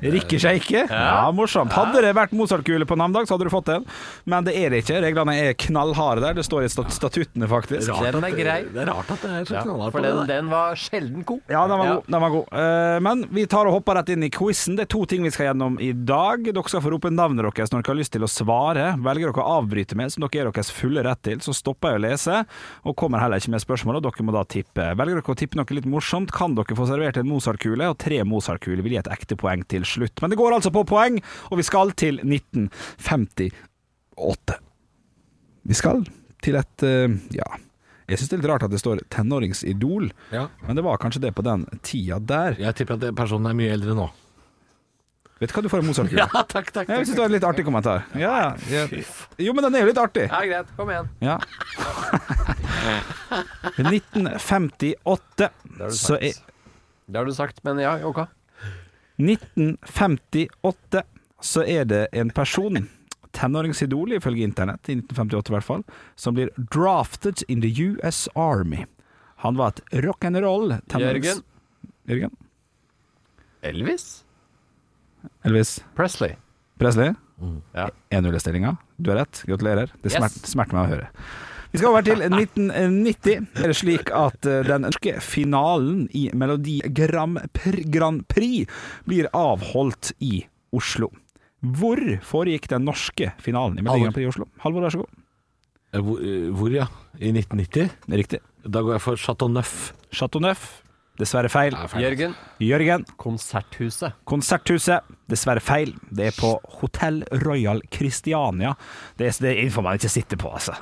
[SPEAKER 4] Rikke Skeike. Ja, morsomt. Hadde det vært Mozart-kule på navnedag, så hadde du fått en. Men det er det ikke. Reglene er knallharde der. Det står i stat statuttene, faktisk.
[SPEAKER 3] Rart
[SPEAKER 5] Den er
[SPEAKER 3] at-
[SPEAKER 5] grei.
[SPEAKER 3] Det er rart at det er så
[SPEAKER 5] Ja,
[SPEAKER 3] knallhard
[SPEAKER 5] for
[SPEAKER 3] på det.
[SPEAKER 5] den,
[SPEAKER 3] der.
[SPEAKER 5] den var sjelden
[SPEAKER 3] <laughs>
[SPEAKER 5] god.
[SPEAKER 4] Ja, den var god. Den var god. Eh, men vi tar og hopper rett inn i quizen. Det er to ting vi skal gjennom i dag. Dere skal få rope navnet deres når dere har lyst til å svare. Velger dere å avbryte med, som dere er deres fulle rett til, så stopper jeg å lese og kommer heller ikke med spørsmål, og dere må da tippe. Velger dere å tippe noe litt morsomt, kan dere få servert en Mozart-kule, og tre Mozart-kuler vil gi et ekte poeng til slutt. Men det går altså på poeng, og vi skal til 1958. Vi skal til et eh, Ja. Jeg syns det er litt rart at det står 'tenåringsidol'.
[SPEAKER 3] Ja.
[SPEAKER 4] Men det var kanskje det på den tida der.
[SPEAKER 3] Jeg tipper at det- personen er mye eldre nå.
[SPEAKER 4] Vet du hva du får i Mozart-kule?
[SPEAKER 5] takk, takk.
[SPEAKER 4] Jeg syns det var en litt artig kommentar. Ja, ja. Jo, men den er jo litt artig.
[SPEAKER 5] Ja, greit. Kom igjen.
[SPEAKER 4] Ja. 1958 så er
[SPEAKER 5] Det har du sagt, men ja, ok.
[SPEAKER 4] 1958 så er det en person, tenåringsidol ifølge internett, i 1958 i hvert fall, som blir drafted in the US Army. Han var et rock'n'roll tenårings...
[SPEAKER 5] Jørgen.
[SPEAKER 4] Jørgen?
[SPEAKER 5] Elvis
[SPEAKER 4] Elvis
[SPEAKER 5] Presley.
[SPEAKER 4] Presley?
[SPEAKER 5] Ja.
[SPEAKER 4] 1-0-stillinga. Du har rett, gratulerer. Det
[SPEAKER 5] Yes.
[SPEAKER 4] smert, smerter meg å høre. Vi skal over til 1990. Er det slik at eh, den norske finalen i Melodi Grand Prix, Grand Prix blir avholdt i Oslo? Hvor foregikk den norske finalen i Melodi
[SPEAKER 3] Halvor.
[SPEAKER 4] Grand Prix i Oslo? Halvor, vær så god.
[SPEAKER 3] Eh, Hvor, eh, hvor ja? I 1990?
[SPEAKER 4] Riktig.
[SPEAKER 3] Da går jeg for Chateau Neuf.
[SPEAKER 4] Chateau Neuf. Dessverre feil.
[SPEAKER 5] Jørgen.
[SPEAKER 4] Jørgen.
[SPEAKER 5] Konserthuset.
[SPEAKER 4] Konserthuset, dessverre feil. Det er på Hotell Royal Christiania. Det er, det er info man ikke sitter på, altså.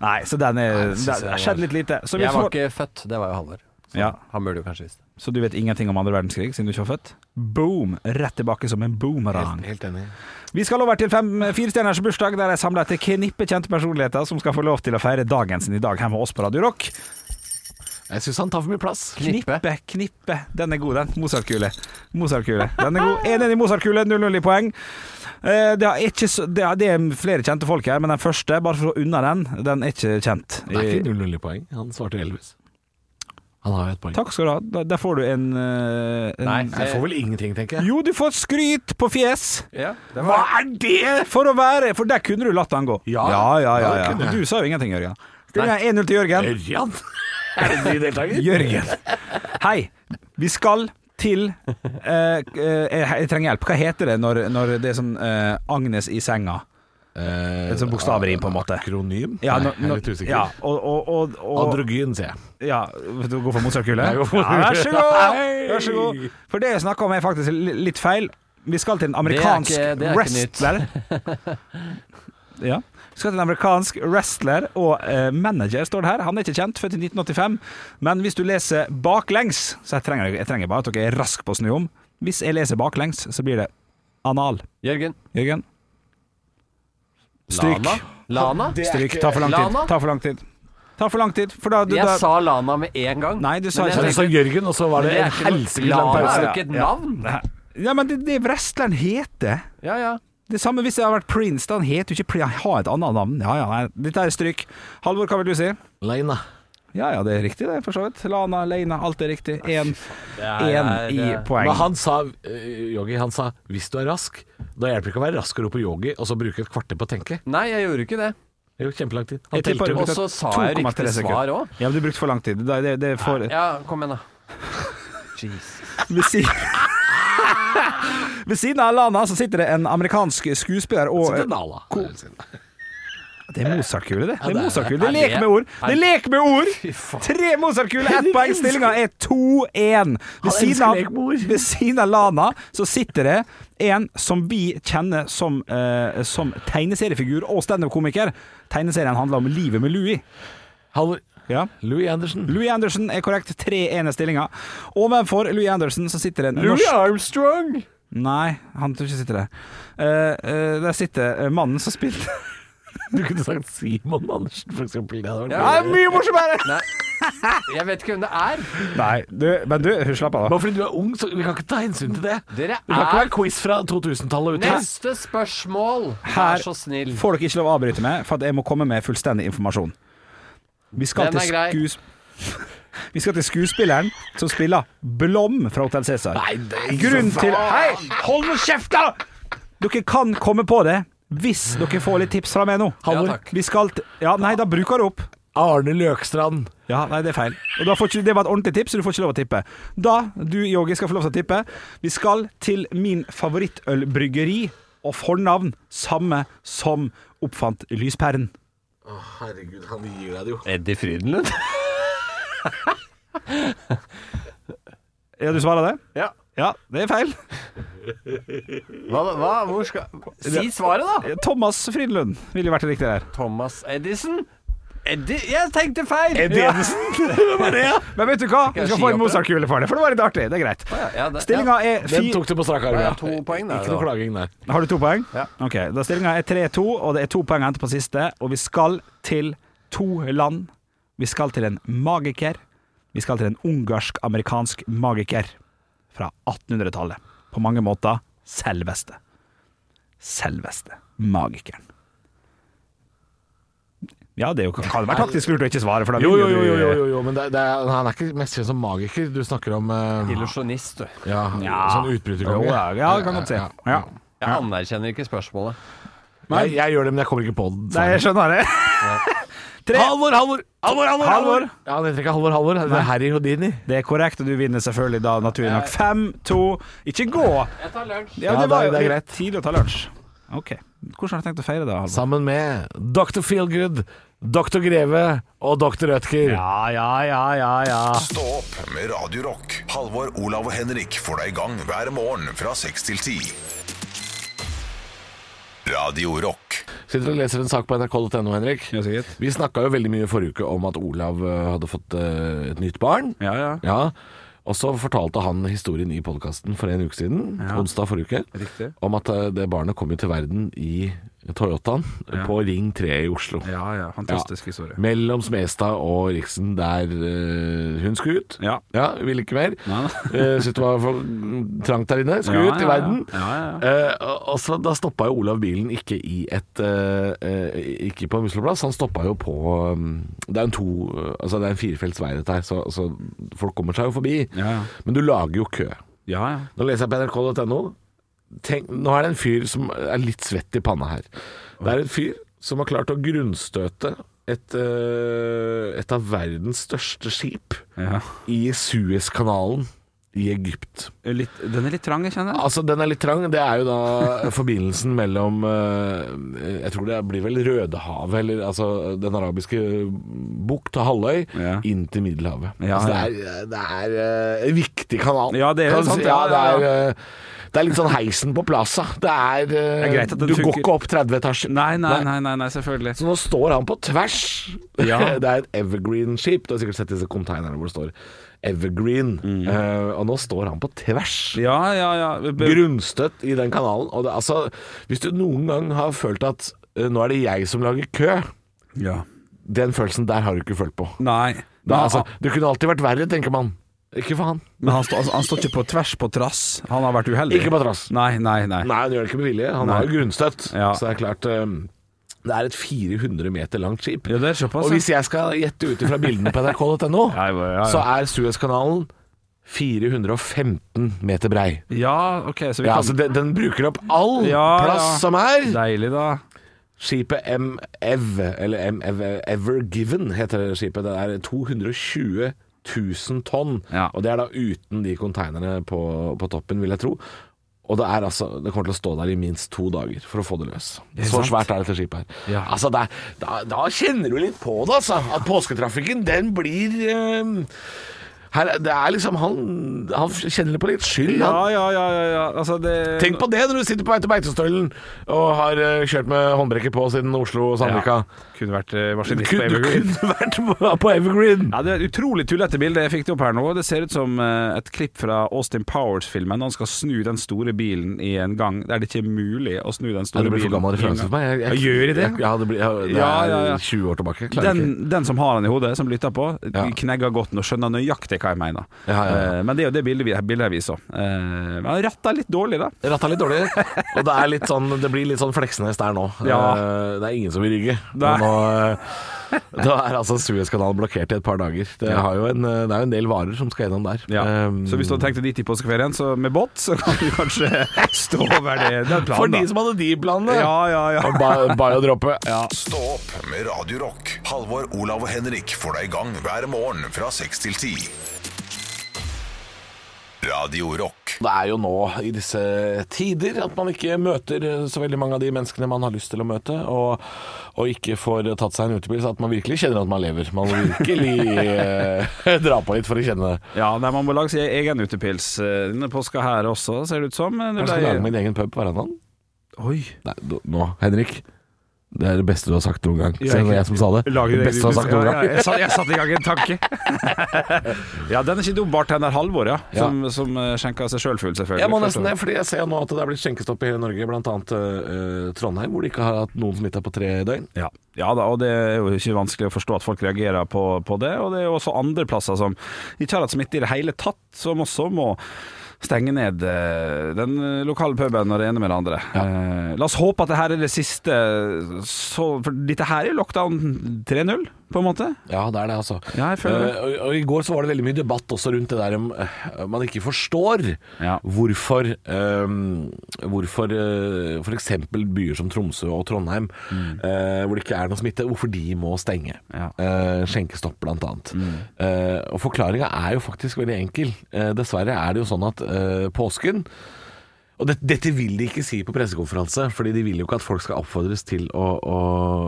[SPEAKER 4] Nei, så den er,
[SPEAKER 5] Nei, det
[SPEAKER 4] det
[SPEAKER 5] synes jeg
[SPEAKER 4] har skjedd
[SPEAKER 5] var-
[SPEAKER 4] litt lite. Så, vi
[SPEAKER 5] Jeg var
[SPEAKER 4] får,
[SPEAKER 5] ikke født, det var jo Halvor. Så
[SPEAKER 4] Ja.
[SPEAKER 5] Han burde jo kanskje visst det.
[SPEAKER 4] så du vet ingenting om andre verdenskrig siden du ikke var født? Boom! Rett tilbake som en boomerang.
[SPEAKER 3] Helt enig.
[SPEAKER 4] Vi skal over til fem firestjerners bursdag, der jeg samler et knippe kjente personligheter som skal få lov til å feire dagen sin i dag her med oss på Radio Rock.
[SPEAKER 3] Jeg syns han tar for mye plass.
[SPEAKER 5] Knippe.
[SPEAKER 4] Knippe, knippe. Den er god, den. Mozart-kule. Mozart-kule. Den er god. 1-1 i Mozart-kule, 0-0 i poeng. Eh, Det er, ikke så, det, er, det er flere kjente folk her, men den første, bare for å unna den, den er ikke kjent.
[SPEAKER 3] Det er ikke 0-0 i poeng. Han svarte Elvis. Han har jo et poeng.
[SPEAKER 4] Takk skal du ha. Da- Der får du en, eh, en
[SPEAKER 3] Nei, jeg får vel ingenting, tenker jeg.
[SPEAKER 4] Jo, du får skryt på fjes!
[SPEAKER 3] Ja, det
[SPEAKER 4] Hva er det for å være? For der kunne du latt han gå.
[SPEAKER 3] Ja.
[SPEAKER 4] ja, ja.
[SPEAKER 3] Ja,
[SPEAKER 4] ja, ja.
[SPEAKER 3] det kunne jeg.
[SPEAKER 4] Men Du sa jo ingenting, Jørgen. Skal vi
[SPEAKER 3] Nei.
[SPEAKER 4] ha 1-0 til Jørgen?
[SPEAKER 3] Ørjan? Er det en ny deltaker?
[SPEAKER 4] Jørgen. Hei, vi skal til eh, eh, Jeg trenger hjelp. Hva heter det når, når det er sånn eh, Agnes i senga? Et sånt bokstavrim, på en måte.
[SPEAKER 3] Eh, Akronym?
[SPEAKER 4] Ja,
[SPEAKER 3] Nei,
[SPEAKER 4] nå-
[SPEAKER 3] jeg er
[SPEAKER 4] nå-
[SPEAKER 3] litt usikker.
[SPEAKER 4] Ja, og, og, og, og,
[SPEAKER 3] Androgyn, sier jeg.
[SPEAKER 4] ja, du går for motsatt kule?
[SPEAKER 3] Jeg går for-
[SPEAKER 4] Ja, vær så god!
[SPEAKER 3] Hei!
[SPEAKER 4] Vær så god. For det jeg snakker om, er faktisk li- litt feil. Vi skal til en
[SPEAKER 5] er
[SPEAKER 4] amerikansk
[SPEAKER 5] ikke- det er <laughs> ikke
[SPEAKER 4] wrestler. ja. Vi skal til en amerikansk wrestler og eh, manager, står det her. Han er ikke kjent, født i 1985. Men hvis du leser baklengs Så jeg trenger, jeg trenger bare at dere er raske på å snu om. Hvis jeg leser baklengs, så blir det anal.
[SPEAKER 5] Jørgen.
[SPEAKER 4] Jørgen? Stryk.
[SPEAKER 5] Lana? Lana?
[SPEAKER 4] Stryk. Ta for lang tid.
[SPEAKER 5] Lana?
[SPEAKER 4] Ta for lang tid. Ta for lang tid, for da, da,
[SPEAKER 5] Jeg sa Lana med en gang.
[SPEAKER 4] Nei, du sa
[SPEAKER 5] Men
[SPEAKER 4] ikke
[SPEAKER 3] Så
[SPEAKER 5] jeg
[SPEAKER 3] det står Jørgen, og så var det
[SPEAKER 5] Det er
[SPEAKER 3] en
[SPEAKER 5] ikke noe-
[SPEAKER 3] helsikes lang
[SPEAKER 5] Lana er jo
[SPEAKER 3] pause.
[SPEAKER 5] ikke et
[SPEAKER 4] Ja.
[SPEAKER 5] navn.
[SPEAKER 4] Ja, men det, det wrestleren heter
[SPEAKER 5] Ja, ja.
[SPEAKER 4] Det samme hvis det hadde vært Prince da, Han heter jo ikke Prince Han har et annet navn Ja, ja, nei Dette er stryk Halvor, hva vil du si?
[SPEAKER 3] Leina.
[SPEAKER 4] Ja, ja, det er riktig det for så vidt Lana, Leina, alt er riktig En, en
[SPEAKER 5] det er-
[SPEAKER 4] i poeng
[SPEAKER 3] Men han sa, eh, Yogi, han sa 'hvis du er rask', da hjelper det ikke å være raskere på yogi og så bruke et kvarter på å tenke.
[SPEAKER 5] Nei, jeg gjorde ikke det.
[SPEAKER 3] Det er jo kjempelang tid. Han
[SPEAKER 4] Jeg tipper-
[SPEAKER 3] telte jo
[SPEAKER 5] Og så sa jeg
[SPEAKER 4] 2,3
[SPEAKER 5] riktig
[SPEAKER 4] sekunder.
[SPEAKER 5] svar òg.
[SPEAKER 4] Ja, men du brukte for lang tid Det, det, det er for
[SPEAKER 5] Ja, kom igjen, da.
[SPEAKER 4] <laughs> ved, siden, <laughs> ved siden av Lana så sitter det en amerikansk skuespiller og,
[SPEAKER 3] til Nala.
[SPEAKER 4] Det er Mozart-kule, det. Det
[SPEAKER 3] Eh, det
[SPEAKER 4] er
[SPEAKER 3] er
[SPEAKER 4] Mozart-kule.
[SPEAKER 5] det.
[SPEAKER 4] Det er lek med ord. Det er lek med ord! Tre Mozart-kuler,
[SPEAKER 3] <laughs>
[SPEAKER 4] ett poeng. Stillinga er 2-1. Ved, siden
[SPEAKER 3] elsker lek med
[SPEAKER 4] av-
[SPEAKER 3] ord.
[SPEAKER 4] ved siden av Lana så sitter det en som vi kjenner som, eh, som tegneseriefigur og standup-komiker. Tegneserien handler om livet med Louis.
[SPEAKER 3] Halvor.
[SPEAKER 4] Ja.
[SPEAKER 3] Louis Andersen.
[SPEAKER 4] Louis Anderson er korrekt. 3-1 er stillinga. Ovenfor Louis Anderson så sitter det en norsk-
[SPEAKER 5] Armstrong!
[SPEAKER 4] Nei, han tror ikke sitter der. Eh, eh, der sitter eh, mannen som spilte
[SPEAKER 3] Du kunne sagt Simon Andersen, for eksempel. Det hadde vært
[SPEAKER 5] Ja.
[SPEAKER 3] bedre.
[SPEAKER 4] Mye morsommere!
[SPEAKER 5] Jeg vet ikke hvem det er.
[SPEAKER 4] Nei, du, men du, slapp av, da.
[SPEAKER 3] Bare fordi du er ung, så vi kan ikke ta hensyn til det.
[SPEAKER 5] Dere
[SPEAKER 3] Du kan ikke
[SPEAKER 5] er
[SPEAKER 3] være quiz fra 2000-tallet ute.
[SPEAKER 5] Neste spørsmål,
[SPEAKER 4] Her
[SPEAKER 5] vær så snill.
[SPEAKER 4] får dere ikke lov å avbryte meg, for at jeg må komme med fullstendig informasjon. Vi skal,
[SPEAKER 5] Den
[SPEAKER 4] til,
[SPEAKER 5] er grei.
[SPEAKER 4] skues... <laughs> Vi skal til skuespilleren som spiller Blom fra Hotell Cæsar.
[SPEAKER 3] Nei, det er ikke
[SPEAKER 4] Grunnen
[SPEAKER 3] så
[SPEAKER 4] til
[SPEAKER 3] faen.
[SPEAKER 4] Hei, hold nå kjeft, da! Dere kan komme på det hvis dere får litt tips fra meg nå.
[SPEAKER 3] Halvor.
[SPEAKER 5] Ja, takk.
[SPEAKER 4] Vi skal til Ja, nei, da bruker du opp.
[SPEAKER 3] Arne Løkstrand.
[SPEAKER 4] Ja, nei, det er feil. Og da får ikke, det var et ordentlig tips, så du får ikke lov å tippe. Da, du Yogi, skal få lov til å tippe. Vi skal til min favorittølbryggeri og fornavn, samme som oppfant lyspæren.
[SPEAKER 3] Herregud, han gir deg det jo.
[SPEAKER 5] Eddie Frydenlund?
[SPEAKER 4] Ja, du svarer det?
[SPEAKER 5] ja.
[SPEAKER 4] Ja, det er feil.
[SPEAKER 5] Hva, hva, hvor skal Si svaret, da!
[SPEAKER 4] Thomas Frydenlund ville jo vært riktig der.
[SPEAKER 5] Thomas Edison? Eddie Jeg tenkte feil!
[SPEAKER 4] <laughs>
[SPEAKER 5] <laughs>
[SPEAKER 4] Men vet du hva? Du skal få en Mozart-kule for det, for det var litt artig. Det er greit.
[SPEAKER 5] ja, det-
[SPEAKER 4] Stillinga er
[SPEAKER 3] Den
[SPEAKER 4] fi...
[SPEAKER 3] tok du på strak arm.
[SPEAKER 5] Ja,
[SPEAKER 3] ja.
[SPEAKER 5] to poeng der,
[SPEAKER 3] Ikke noe
[SPEAKER 5] da.
[SPEAKER 3] klaging der.
[SPEAKER 4] Har du to poeng?
[SPEAKER 5] Ja.
[SPEAKER 4] Ok, da Stillinga er 3-2, og det er to poeng å hente på siste. Og vi skal til to land. Vi skal til en magiker. Vi skal til en ungarsk-amerikansk magiker fra 1800-tallet. På mange måter selveste. Selveste magikeren. Ja, det er jo, kan være taktisk lurt å ikke svare, for da
[SPEAKER 3] Jo,
[SPEAKER 4] vil
[SPEAKER 3] jo, jo,
[SPEAKER 4] du-
[SPEAKER 3] jo, jo, jo men det, det er, han er ikke mest kjent som magiker. Du snakker om eh,
[SPEAKER 5] Illusjonist, du.
[SPEAKER 3] ja,
[SPEAKER 4] Ja.
[SPEAKER 3] sånn utbryterkonge.
[SPEAKER 4] Jo, ja, ja, det kan godt si.
[SPEAKER 3] Ja,
[SPEAKER 4] Ja.
[SPEAKER 5] Jeg anerkjenner ikke spørsmålet.
[SPEAKER 3] Nei, jeg gjør det, men jeg kommer ikke på den.
[SPEAKER 4] Nei, jeg skjønner det. <laughs> Tre.
[SPEAKER 3] Halvor, Halvor! Halvor, Halvor!
[SPEAKER 4] Halvor.
[SPEAKER 3] Ja, han heter ikke Halvor Halvor, det er Harry Houdini.
[SPEAKER 4] Det er korrekt, og du vinner selvfølgelig da, naturlig nok. 5-2. Ikke gå!
[SPEAKER 5] Jeg tar lunsj.
[SPEAKER 4] Ja,
[SPEAKER 3] Ja,
[SPEAKER 4] det,
[SPEAKER 3] det-
[SPEAKER 4] var,
[SPEAKER 3] det er
[SPEAKER 4] jo
[SPEAKER 3] greit.
[SPEAKER 4] Tidlig å ta lunsj. Ok. Hvordan har du tenkt å feire det, Halvor?
[SPEAKER 3] Sammen med Dr. Feelgood, Dr. Greve og Dr. Rødker.
[SPEAKER 4] Ja, ja, ja, ja, ja.
[SPEAKER 1] Stå opp med Radio Rock. Halvor, Olav og Henrik får deg i gang hver morgen fra 6 til 10. Radio Rock.
[SPEAKER 3] Sitter og leser en sak på nrk.no, Henrik.
[SPEAKER 4] Ja, sikkert.
[SPEAKER 3] Vi snakka jo veldig mye forrige uke om at Olav eh, hadde fått eh, et nytt barn.
[SPEAKER 4] Ja, ja.
[SPEAKER 3] Og så fortalte han historien i podkasten for en uke siden, onsdag forrige uke,
[SPEAKER 4] Riktig.
[SPEAKER 3] om at eh, det barnet kom jo til verden i Toyotaen på Ring 3 i Oslo.
[SPEAKER 9] Ja, ja, fantastisk historie.
[SPEAKER 3] Mellom Smestad og Riksen, der eh, hun skulle ut. Ja. Ville ikke mer. <laughs> Eh, Syntes det var for trangt der inne. Skulle
[SPEAKER 4] Ja,
[SPEAKER 3] ut i
[SPEAKER 4] ja, ja.
[SPEAKER 3] verden. Eh, og- og så Da stoppa jo Olav bilen ikke i et eh, eh, Ikke på en muskelplass. Han stoppa jo på um, Det er en to Altså det er en firefelts vei, dette her, så, så folk kommer seg jo forbi. Men du lager jo kø. Nå leser jeg på nrk.no. Tenk, nå er det en fyr som er litt svett i panna her. Det er en fyr som har klart å grunnstøte et, eh, et av verdens største skip i Suezkanalen i Egypt.
[SPEAKER 4] den er litt trang, jeg kjenner.
[SPEAKER 3] Altså, den er litt trang. Det er jo da forbindelsen mellom eh, Jeg tror det blir vel Rødehavet, eller altså den arabiske bukt og halvøy, inn til Middelhavet.
[SPEAKER 4] Ja,
[SPEAKER 3] altså,
[SPEAKER 4] ja.
[SPEAKER 3] det er, det er eh, en viktig kanal. Ja,
[SPEAKER 4] det er sant,
[SPEAKER 3] Ja,
[SPEAKER 4] ja, ja,
[SPEAKER 3] det,
[SPEAKER 4] ja.
[SPEAKER 3] er, eh, det er litt sånn heisen på plaza. Det er, eh,
[SPEAKER 4] Det er greit at den
[SPEAKER 3] Du
[SPEAKER 4] funker.
[SPEAKER 3] går ikke opp 30 etasjer.
[SPEAKER 4] Nei, nei, nei, nei, nei, selvfølgelig.
[SPEAKER 3] Så nå står han på tvers.
[SPEAKER 4] Ja.
[SPEAKER 3] <laughs> det er et evergreen-skip. Du har sikkert sett disse konteinerne hvor det står Evergreen.
[SPEAKER 4] Mm.
[SPEAKER 3] Eh, og nå står han på tvers.
[SPEAKER 4] Ja, ja, ja.
[SPEAKER 3] Grunnstøtt i den kanalen. Og det, altså, hvis du noen gang har følt at eh, nå er det jeg som lager kø,
[SPEAKER 4] Ja.
[SPEAKER 3] den følelsen der har du ikke følt på.
[SPEAKER 4] Nei.
[SPEAKER 3] Det, altså, det kunne alltid vært verre, tenker man. Ikke for han.
[SPEAKER 4] Men han, står- altså, han står ikke på tvers på trass. Han har vært uheldig.
[SPEAKER 3] Ikke på trass.
[SPEAKER 4] Nei, nei, nei.
[SPEAKER 3] Nei, han gjør det ikke med vilje. Han
[SPEAKER 4] Nei.
[SPEAKER 3] har jo grunnstøtt.
[SPEAKER 4] Ja.
[SPEAKER 3] Så det er klart eh, Det er et 400 meter langt skip.
[SPEAKER 4] Ja, det er såpass.
[SPEAKER 3] Og hvis jeg skal gjette ut fra bildene på <laughs> nrk.no,
[SPEAKER 4] ja.
[SPEAKER 3] så er Suezkanalen 415 meter brei.
[SPEAKER 4] Ja, ok, så vi
[SPEAKER 3] Ja,
[SPEAKER 4] kan
[SPEAKER 3] altså den, den bruker opp all
[SPEAKER 4] Ja,
[SPEAKER 3] plass
[SPEAKER 4] ja.
[SPEAKER 3] som er.
[SPEAKER 4] Deilig, da.
[SPEAKER 3] Skipet M. Ev, eller M. Ev, Ever Given heter det skipet. Det er 220 000 tonn. Og det er da uten de konteinerne på, på toppen, vil jeg tro. Og det, er altså, det kommer til å stå der i minst to dager for å få det løs.
[SPEAKER 4] Det er
[SPEAKER 3] Så
[SPEAKER 4] sant.
[SPEAKER 3] svært er dette skipet her.
[SPEAKER 4] Ja.
[SPEAKER 3] Altså, det er, da, da kjenner du litt på det, altså. At påsketrafikken, den blir eh, her, er- Det er liksom Han, han kjenner på litt skyld.
[SPEAKER 4] Ja,
[SPEAKER 3] Han,
[SPEAKER 4] ja, ja, ja, ja. Altså, det
[SPEAKER 3] Tenk på det når du sitter på vei til Beitostølen og har eh, kjørt med håndbrekket på siden Oslo og Sandvika.
[SPEAKER 4] Kunne vært eh, maskinist på
[SPEAKER 3] Kunne- du
[SPEAKER 4] Evergreen.
[SPEAKER 3] kunne <laughs> vært på- på Evergreen.
[SPEAKER 4] Ja, Det er et utrolig tullete bilde jeg fikk det opp her nå. Det ser ut som eh, et klipp fra Austin Powers-filmen. Han skal snu den store bilen i en gang der det ikke er mulig å snu den
[SPEAKER 3] Ja,
[SPEAKER 4] store
[SPEAKER 3] det blir for
[SPEAKER 4] bilen.
[SPEAKER 3] gammel
[SPEAKER 4] i en
[SPEAKER 3] referanse
[SPEAKER 4] gang.
[SPEAKER 3] for meg. Jeg, jeg,
[SPEAKER 4] ja, gjør jeg det?
[SPEAKER 3] Jeg, ja, det, blir, ja, det er
[SPEAKER 4] Ja, ja, ja.
[SPEAKER 3] 20 år tilbake. Klarer ikke.
[SPEAKER 4] Den, den som har den i hodet, som lytter på, knegger godt og skjønner nøyaktig hva jeg mener.
[SPEAKER 3] Ja, ja, ja.
[SPEAKER 4] Eh, men det er jo det bildet vi, bildet vi så. Eh, men han ratta litt dårlig, da.
[SPEAKER 3] Ratta litt dårlig, og det, er litt sånn, det blir litt sånn Fleksnes der nå.
[SPEAKER 4] Ja.
[SPEAKER 3] Eh, Det er ingen som vil rygge.
[SPEAKER 4] Nei.
[SPEAKER 3] Men Nå, eh, da er altså Suezkanalen blokkert i et par dager. Det, har jo en, eh, det er jo en del varer som skal gjennom der.
[SPEAKER 4] Ja.
[SPEAKER 3] Um,
[SPEAKER 4] så hvis du hadde tenkt deg dit i påskeferien så med båt, så kan du kanskje <laughs> stå over det. Den planen,
[SPEAKER 3] For de
[SPEAKER 4] da.
[SPEAKER 3] som hadde de planene!
[SPEAKER 4] Ja, ja, ja.
[SPEAKER 3] Og ba- bare å droppe. Ja.
[SPEAKER 1] Stå opp med Radio Rock. Halvor, Olav og Henrik får deg i gang hver morgen fra 6 til 10. Radio Rock.
[SPEAKER 3] Det er jo nå i disse tider at man ikke møter så veldig mange av de menneskene man har lyst til å møte, og, og ikke får tatt seg en utepils, at man virkelig kjenner at man lever. Man må virkelig eh, <laughs> dra på litt for å kjenne det.
[SPEAKER 4] Ja, nei, man må lage sin egen utepils. Eh, Denne påska her også, ser det ut som. Det
[SPEAKER 3] Jeg skal lage min egen pub på verandaen.
[SPEAKER 4] Oi.
[SPEAKER 3] Nei, d- nå, Henrik. Det er det beste du har sagt noen gang.
[SPEAKER 4] Ja,
[SPEAKER 3] Selv om det var
[SPEAKER 4] ikke-
[SPEAKER 3] jeg som sa det.
[SPEAKER 4] Lager
[SPEAKER 3] Det
[SPEAKER 4] din
[SPEAKER 3] beste du har sagt noen
[SPEAKER 4] Ja, ja, jeg,
[SPEAKER 3] gang.
[SPEAKER 4] satt, jeg satte i gang en tanke. <laughs> ja, den er ikke dum. Bartender Halvor, ja. Som, som eh, skjenka seg sjøl full, selvfølgelig.
[SPEAKER 3] Jeg må nesten det, fordi jeg ser jo nå at det er blitt skjenkestopp i hele Norge, bl.a. Uh, Trondheim, hvor de ikke har hatt noen smitta på tre døgn.
[SPEAKER 4] Ja. ja da, og det er jo ikke vanskelig å forstå at folk reagerer på, på det. Og det er jo også andre plasser som ikke har hatt smitte i det hele tatt, som også må stenge ned eh, den lokale puben og det ene med det andre. Eh, La oss håpe at det her er det siste, så, for dette her er jo lockdown 3.0, på en måte.
[SPEAKER 3] Ja, det er det, altså.
[SPEAKER 4] Ja, jeg føler det.
[SPEAKER 3] Eh, og, og I går så var det veldig mye debatt også rundt det der om eh, man ikke forstår hvorfor eh, Hvorfor eh, for f.eks. byer som Tromsø og Trondheim,
[SPEAKER 4] Mm.
[SPEAKER 3] eh, hvor det ikke er noe smitte, hvorfor de må stenge. Eh, skjenkestopp, blant annet.
[SPEAKER 4] Mm.
[SPEAKER 3] Eh, og forklaringa er jo faktisk veldig enkel. Eh, dessverre er det jo sånn at eh, påsken og det, dette vil de ikke si på pressekonferanse, fordi de vil jo ikke at folk skal oppfordres til å, å,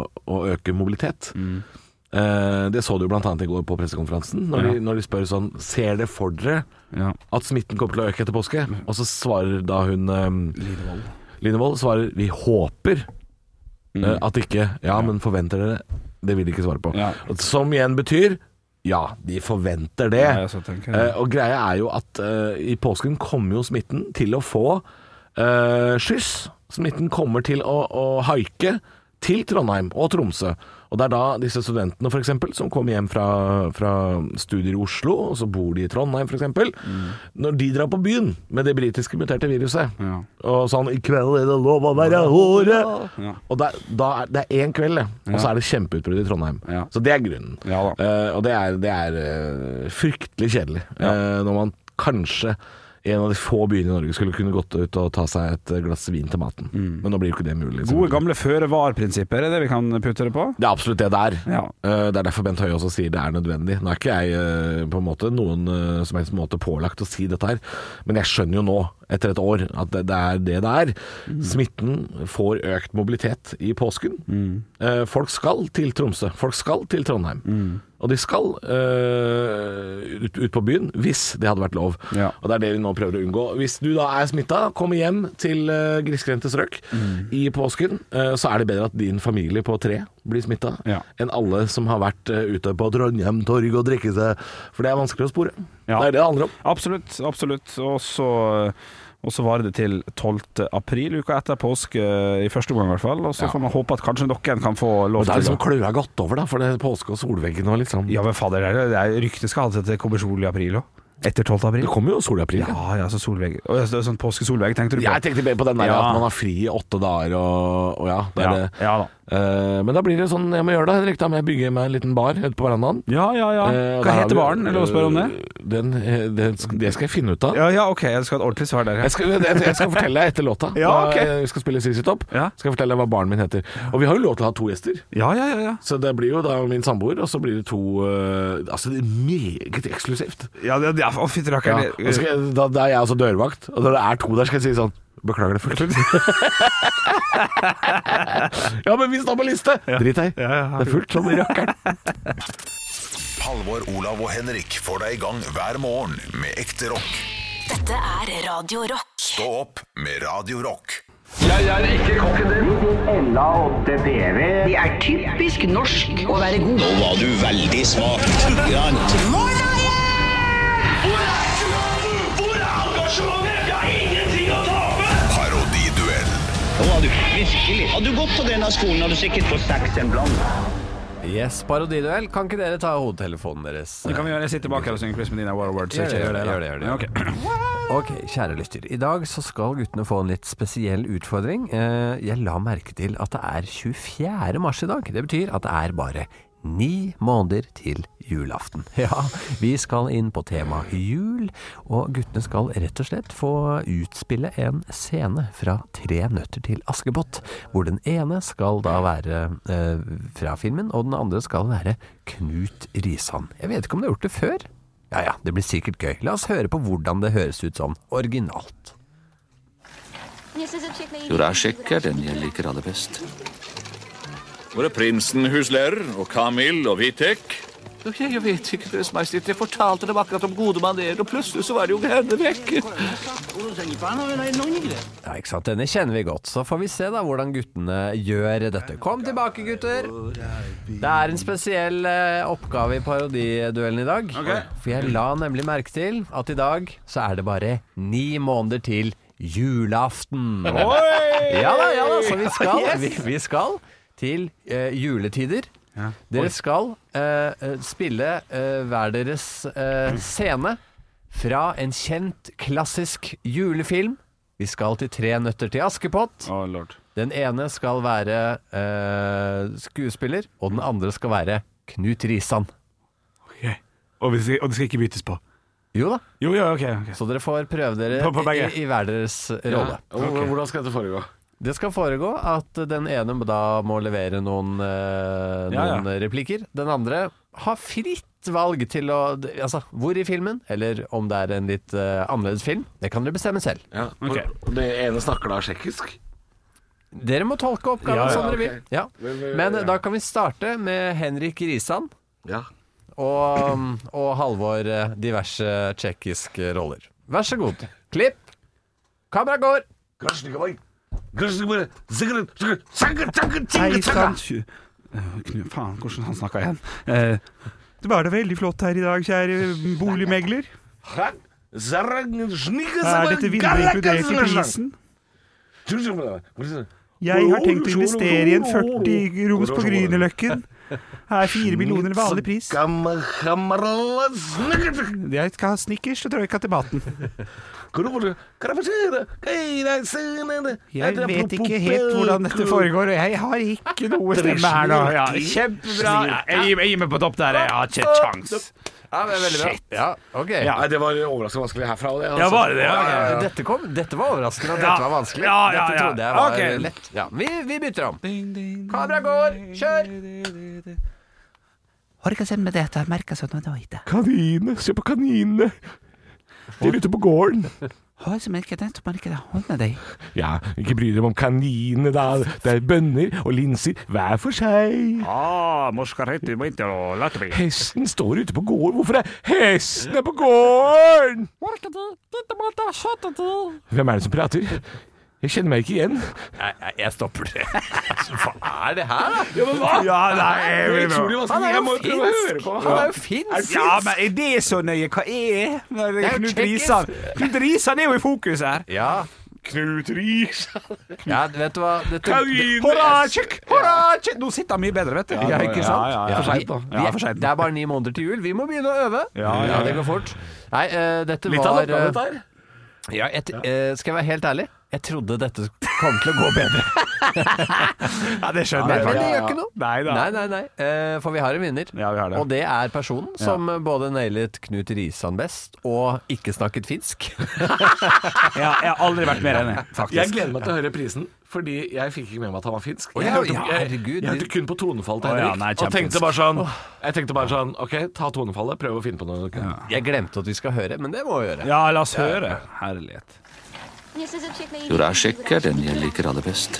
[SPEAKER 3] å øke mobilitet. Eh, det så du bl.a. i går på pressekonferansen, når,
[SPEAKER 4] Ja.
[SPEAKER 3] de, når de spør sånn Ser det for dere
[SPEAKER 4] Ja.
[SPEAKER 3] at smitten kommer til å øke etter påske? Og så svarer da hun um, Linevold. svarer Vi håper
[SPEAKER 4] Mm.
[SPEAKER 3] eh, at ikke Ja, men forventer dere Det vil de ikke svare på. Som igjen betyr ja, de forventer det.
[SPEAKER 4] Ja, så tenker jeg.
[SPEAKER 3] Eh, og greia er jo at eh, i påsken kommer jo smitten til å få eh, skyss Smitten kommer til å, å haike til Trondheim og Tromsø. Og det er da disse studentene for eksempel, som kommer hjem fra, fra studier i Oslo, og så bor de i Trondheim f.eks. eksempel Når de drar på byen med det britiske muterte viruset Og sånn 'I kveld er det lov å være hore'. Og da, da er, Det er én kveld, det. Og så er det kjempeutbrudd i Trondheim. Så det er grunnen. Eh, og det er, det er eh, fryktelig kjedelig eh, når man kanskje i en av de få byene i Norge skulle kunne gått ut og ta seg et glass vin til maten. Men nå blir jo ikke det mulig. liksom.
[SPEAKER 4] Gode gamle føre-var-prinsipper er det vi kan putte det på.
[SPEAKER 3] Det er absolutt det det er. Eh, Det er derfor Bent Høie også sier det er nødvendig. Nå er ikke jeg eh, på en måte noen eh, som helst måte pålagt å si dette her, men jeg skjønner jo nå, etter et år, at det, det er det det er. Smitten får økt mobilitet i påsken. Eh, Folk skal til Tromsø. Folk skal til Trondheim. Og de skal eh, ut, ut på byen, hvis det hadde vært lov. Og det er det vi nå prøver å unngå. Hvis du da er smitta, kommer hjem til uh, grisgrendte strøk i påsken, eh, så er det bedre at din familie på tre blir smitta, enn alle som har vært eh, ute på Trondheim torg og drikke seg For det er vanskelig å spore. Det er det det handler om.
[SPEAKER 4] Absolutt. absolutt. Og så og så varer det til 12. april, uka etter påske, i første omgang i hvert fall. Og så
[SPEAKER 3] Ja.
[SPEAKER 4] får man håpe at kanskje noen kan få lov
[SPEAKER 3] Men det er
[SPEAKER 4] til
[SPEAKER 3] liksom kløa godt over, da, for det er påske og solveggen og litt sånn.
[SPEAKER 4] Ja, men fader, det er, det er ryktet skal ha det til det kommer sol i april òg. Etter 12. april.
[SPEAKER 3] Det kommer jo sol i april.
[SPEAKER 4] Ja, ja, så solvegg. Å, ja, så det er Sånn påskesolvegg, tenkte du på?
[SPEAKER 3] Jeg tenkte mer på den der
[SPEAKER 4] Ja.
[SPEAKER 3] at man har fri i åtte dager og, og ja, det er
[SPEAKER 4] Ja,
[SPEAKER 3] det. Eh, men da blir det sånn jeg må gjøre det, Henrik. Da må jeg bygge meg en liten bar ute på verandaen.
[SPEAKER 4] Ja, ja, ja.
[SPEAKER 3] Eh, og der
[SPEAKER 4] Hva
[SPEAKER 3] har vi-
[SPEAKER 4] heter baren? Er det lov å spørre om det?
[SPEAKER 3] Den, eh, den, sk- det skal jeg finne ut av.
[SPEAKER 4] Ja, ja, ok, jeg skal ha et ordentlig svar der. Ja.
[SPEAKER 3] Jeg skal, jeg, jeg skal fortelle deg etter låta.
[SPEAKER 4] <laughs> Ja,
[SPEAKER 3] Da,
[SPEAKER 4] ok.
[SPEAKER 3] eh, Vi skal spille Sissy Topp. Skal jeg fortelle deg hva baren min heter. Og vi har jo lov til å ha to gjester. Så det blir jo da min samboer, og så blir det to eh, Altså, det er meget eksklusivt.
[SPEAKER 4] Ja, det, det, å, fytti
[SPEAKER 3] Ja,
[SPEAKER 4] rakkeren.
[SPEAKER 3] da, skal, jeg- da, da er jeg også dørvakt, og når det er to der, skal jeg si sånn Beklager det, folkens. <laughs> ja, men vi står på liste! Drit deg. det er fullt som
[SPEAKER 4] <laughs>
[SPEAKER 3] rakkeren.
[SPEAKER 1] Halvor, Olav og Henrik får deg i gang hver morgen med ekte rock.
[SPEAKER 2] Dette er Radio Rock.
[SPEAKER 1] Stå opp med Radio Rock.
[SPEAKER 6] Jeg er ikke kokken din. Ella 8 PV. Det er typisk norsk å være god.
[SPEAKER 13] Nå var du veldig svak. Grann.
[SPEAKER 1] Parodiduell.
[SPEAKER 13] Nå var du virkelig. Hadde du gått på denne skolen, hadde du sikkert fått seks en blant.
[SPEAKER 5] Yes, parodiduell. Kan ikke dere ta hodetelefonen deres?
[SPEAKER 4] Det kan vi gjøre. Jeg sitter bak her og synger Chris Medina War Awards.
[SPEAKER 5] Gjør det, gjør det, gjør det, gjør det. Ok, kjære lytter. I dag så skal guttene få en litt spesiell utfordring. Eh, Jeg la merke til at det er 24. mars i dag. Det betyr at det er bare ni måneder til julaften. Ja, vi skal inn på tema jul, og guttene skal rett og slett få utspille en scene fra Tre nøtter til Askepott, hvor den ene skal da være eh, fra filmen, og den andre skal være Knut Risan. Jeg vet ikke om du har gjort det før? Ja ja, det blir sikkert gøy. La oss høre på hvordan det høres ut sånn originalt.
[SPEAKER 11] Jo, det er sikkert den jeg liker aller best.
[SPEAKER 14] Våre prinsen, huslærer, og Kamil og Vitek.
[SPEAKER 11] Ok, jeg vet ikke, Deres Majestet, jeg fortalte dem akkurat om gode manerer, og plutselig så var det jo henne vekk.
[SPEAKER 5] Ja, ikke sant? Denne kjenner vi godt, så får vi se da hvordan guttene gjør dette. Kom tilbake, gutter! Det er en spesiell eh, oppgave i parodiduellen i dag. For jeg la nemlig merke til at i dag så er det bare ni måneder til julaften.
[SPEAKER 15] Oi!
[SPEAKER 5] Ja da, ja da, så vi skal,
[SPEAKER 15] Yes!
[SPEAKER 5] vi, vi skal til eh, juletider.
[SPEAKER 15] Oi.
[SPEAKER 5] Dere skal eh, eh, spille eh, hver deres eh, scene fra en kjent klassisk julefilm. Vi skal til Tre nøtter til Askepott. Den ene skal være eh, skuespiller, og den andre skal være Knut Risan.
[SPEAKER 4] Og, vi, og det skal ikke byttes på?
[SPEAKER 5] Jo da.
[SPEAKER 4] Så
[SPEAKER 5] dere får prøve dere
[SPEAKER 4] På- på begge?
[SPEAKER 5] i, i hver deres eh, rolle.
[SPEAKER 3] Ja, og Hvordan skal dette foregå?
[SPEAKER 5] Det skal foregå at den ene da må levere noen, eh,
[SPEAKER 3] Ja,
[SPEAKER 5] noen replikker. Den andre har fritt valg til å Altså, hvor i filmen, eller om det er en litt eh, annerledes film, det kan dere bestemme selv.
[SPEAKER 3] Det ene snakker da tsjekkisk?
[SPEAKER 5] Dere må tolke oppgaven
[SPEAKER 3] Ja, ja,
[SPEAKER 5] som dere vil.
[SPEAKER 3] ok.
[SPEAKER 5] Ja.
[SPEAKER 3] Men, men,
[SPEAKER 5] Men eh,
[SPEAKER 3] ja.
[SPEAKER 5] da kan vi starte med Henrik Risan. Og, og Halvor eh, diverse tsjekkiske roller. Vær så god. Klipp. Kamera går.
[SPEAKER 15] Hei, sann.
[SPEAKER 4] Knu, Eh, faen, hvordan han snakka igjen? Eh,
[SPEAKER 15] Det var da veldig flott her i dag, kjære boligmegler. Er dette vinduet inkludert i prisen?
[SPEAKER 12] Jeg har tenkt å investere i en 40 roms på Grünerløkken. Her er fire millioner ved vanlig pris.
[SPEAKER 4] Jeg skal ha snickers og troika til maten. Jeg vet ikke helt hvordan dette foregår, og jeg har ikke noe stemme her nå. Ja, kjempebra. Ja, jeg gir- jeg gir meg på topp der. Jeg har ikke kjangs.
[SPEAKER 5] Ja, men veldig bra.
[SPEAKER 4] Shit.
[SPEAKER 5] Ja, ok.
[SPEAKER 4] Ja.
[SPEAKER 3] Nei, det var overraskende vanskelig herfra. Det,
[SPEAKER 5] Ja, var det det?
[SPEAKER 3] Ja,
[SPEAKER 5] Ok.
[SPEAKER 3] ja, ja.
[SPEAKER 5] Dette, kom, dette var overraskende, og
[SPEAKER 3] Ja.
[SPEAKER 5] dette var vanskelig.
[SPEAKER 3] Ja, ja,
[SPEAKER 5] Dette
[SPEAKER 3] ja.
[SPEAKER 5] trodde jeg var
[SPEAKER 3] Ok.
[SPEAKER 5] lett. Ja, vi, vi bytter om. Kamera går, kjør!
[SPEAKER 12] Har ikke sendt meg dette, jeg merker sånn at det var ikke.
[SPEAKER 16] Kaninene. Se på kaninene. De er ute på gården.
[SPEAKER 12] Har som ikke den som ikke hånda di.
[SPEAKER 16] Ja, ikke bry dere om kaninene, da. Det er bønner og linser hver for seg.
[SPEAKER 4] Ah, morskarhet, du må ikke late meg.
[SPEAKER 16] Hesten står ute på gården. Hvorfor er hestene på gården? Hvem er det som prater? Jeg kjenner meg ikke igjen.
[SPEAKER 5] Nei, nei, jeg stopper det. <laughs> Altså, hva er det her, da?
[SPEAKER 16] Ja, men hva?
[SPEAKER 4] Ja, nei, jeg
[SPEAKER 16] Det er
[SPEAKER 4] vil-
[SPEAKER 16] utrolig vanskelig.
[SPEAKER 4] Han er jo
[SPEAKER 16] Jeg må prøve å
[SPEAKER 4] finsk.
[SPEAKER 16] høre på.
[SPEAKER 4] Ja.
[SPEAKER 16] Han er jo finsk.
[SPEAKER 4] Er det Ja, men er det så nøye? Hva er Nei, det?
[SPEAKER 16] Det er
[SPEAKER 4] er
[SPEAKER 16] jo
[SPEAKER 4] Knut
[SPEAKER 16] tjekkisk.
[SPEAKER 4] Risan. Knut Risan er jo i fokus her.
[SPEAKER 5] Ja.
[SPEAKER 16] Knut Risan.
[SPEAKER 5] Ja, vet du hva Dette-
[SPEAKER 4] Hurra, tjekk! Hurra, tjekk! Nå sitter han mye bedre, vet du.
[SPEAKER 5] Ja, ikke
[SPEAKER 4] Ja,
[SPEAKER 5] sant?
[SPEAKER 4] ja, ja.
[SPEAKER 5] For sent, da.
[SPEAKER 4] Vi-
[SPEAKER 5] Vi
[SPEAKER 4] vi
[SPEAKER 5] er for sent. Det er bare ni måneder til jul. Vi må begynne å øve.
[SPEAKER 4] Ja, ja, ja.
[SPEAKER 5] det går fort. Nei, eh, dette
[SPEAKER 4] Litt av
[SPEAKER 5] var
[SPEAKER 4] en oppgave,
[SPEAKER 5] eh,
[SPEAKER 4] dette her.
[SPEAKER 5] Ja, jeg, t- eh, skal jeg være helt ærlig? Jeg trodde dette kom til å gå bedre.
[SPEAKER 3] <laughs>
[SPEAKER 4] Ja, det skjønner
[SPEAKER 5] Nei,
[SPEAKER 4] jeg.
[SPEAKER 5] men det
[SPEAKER 4] faktisk.
[SPEAKER 5] gjør ikke noe.
[SPEAKER 4] Nei da.
[SPEAKER 5] Nei, nei, nei. Eh, for vi har en vinner. Og det er personen som eh, både nailet Knut Risan best, og ikke snakket finsk. <laughs>
[SPEAKER 4] Ja, jeg har aldri vært mer enig, faktisk.
[SPEAKER 3] Jeg gleder meg til å høre prisen, fordi jeg fikk ikke med meg at han var finsk.
[SPEAKER 4] Å,
[SPEAKER 3] Jeg
[SPEAKER 4] ja,
[SPEAKER 3] hørte,
[SPEAKER 4] ja,
[SPEAKER 3] jeg,
[SPEAKER 4] herregud.
[SPEAKER 3] jeg hørte kun på tonefallet
[SPEAKER 4] Å,
[SPEAKER 3] til
[SPEAKER 4] ja,
[SPEAKER 3] Henrik,
[SPEAKER 4] nei,
[SPEAKER 3] og
[SPEAKER 5] kjempefinsk.
[SPEAKER 3] tenkte bare sånn Jeg tenkte bare sånn OK, ta tonefallet, prøv å finne på noe.
[SPEAKER 5] Jeg glemte at vi skal høre, men det må vi gjøre.
[SPEAKER 4] Ja, la oss høre. Herlighet.
[SPEAKER 11] Jurasjek er den jeg liker aller best.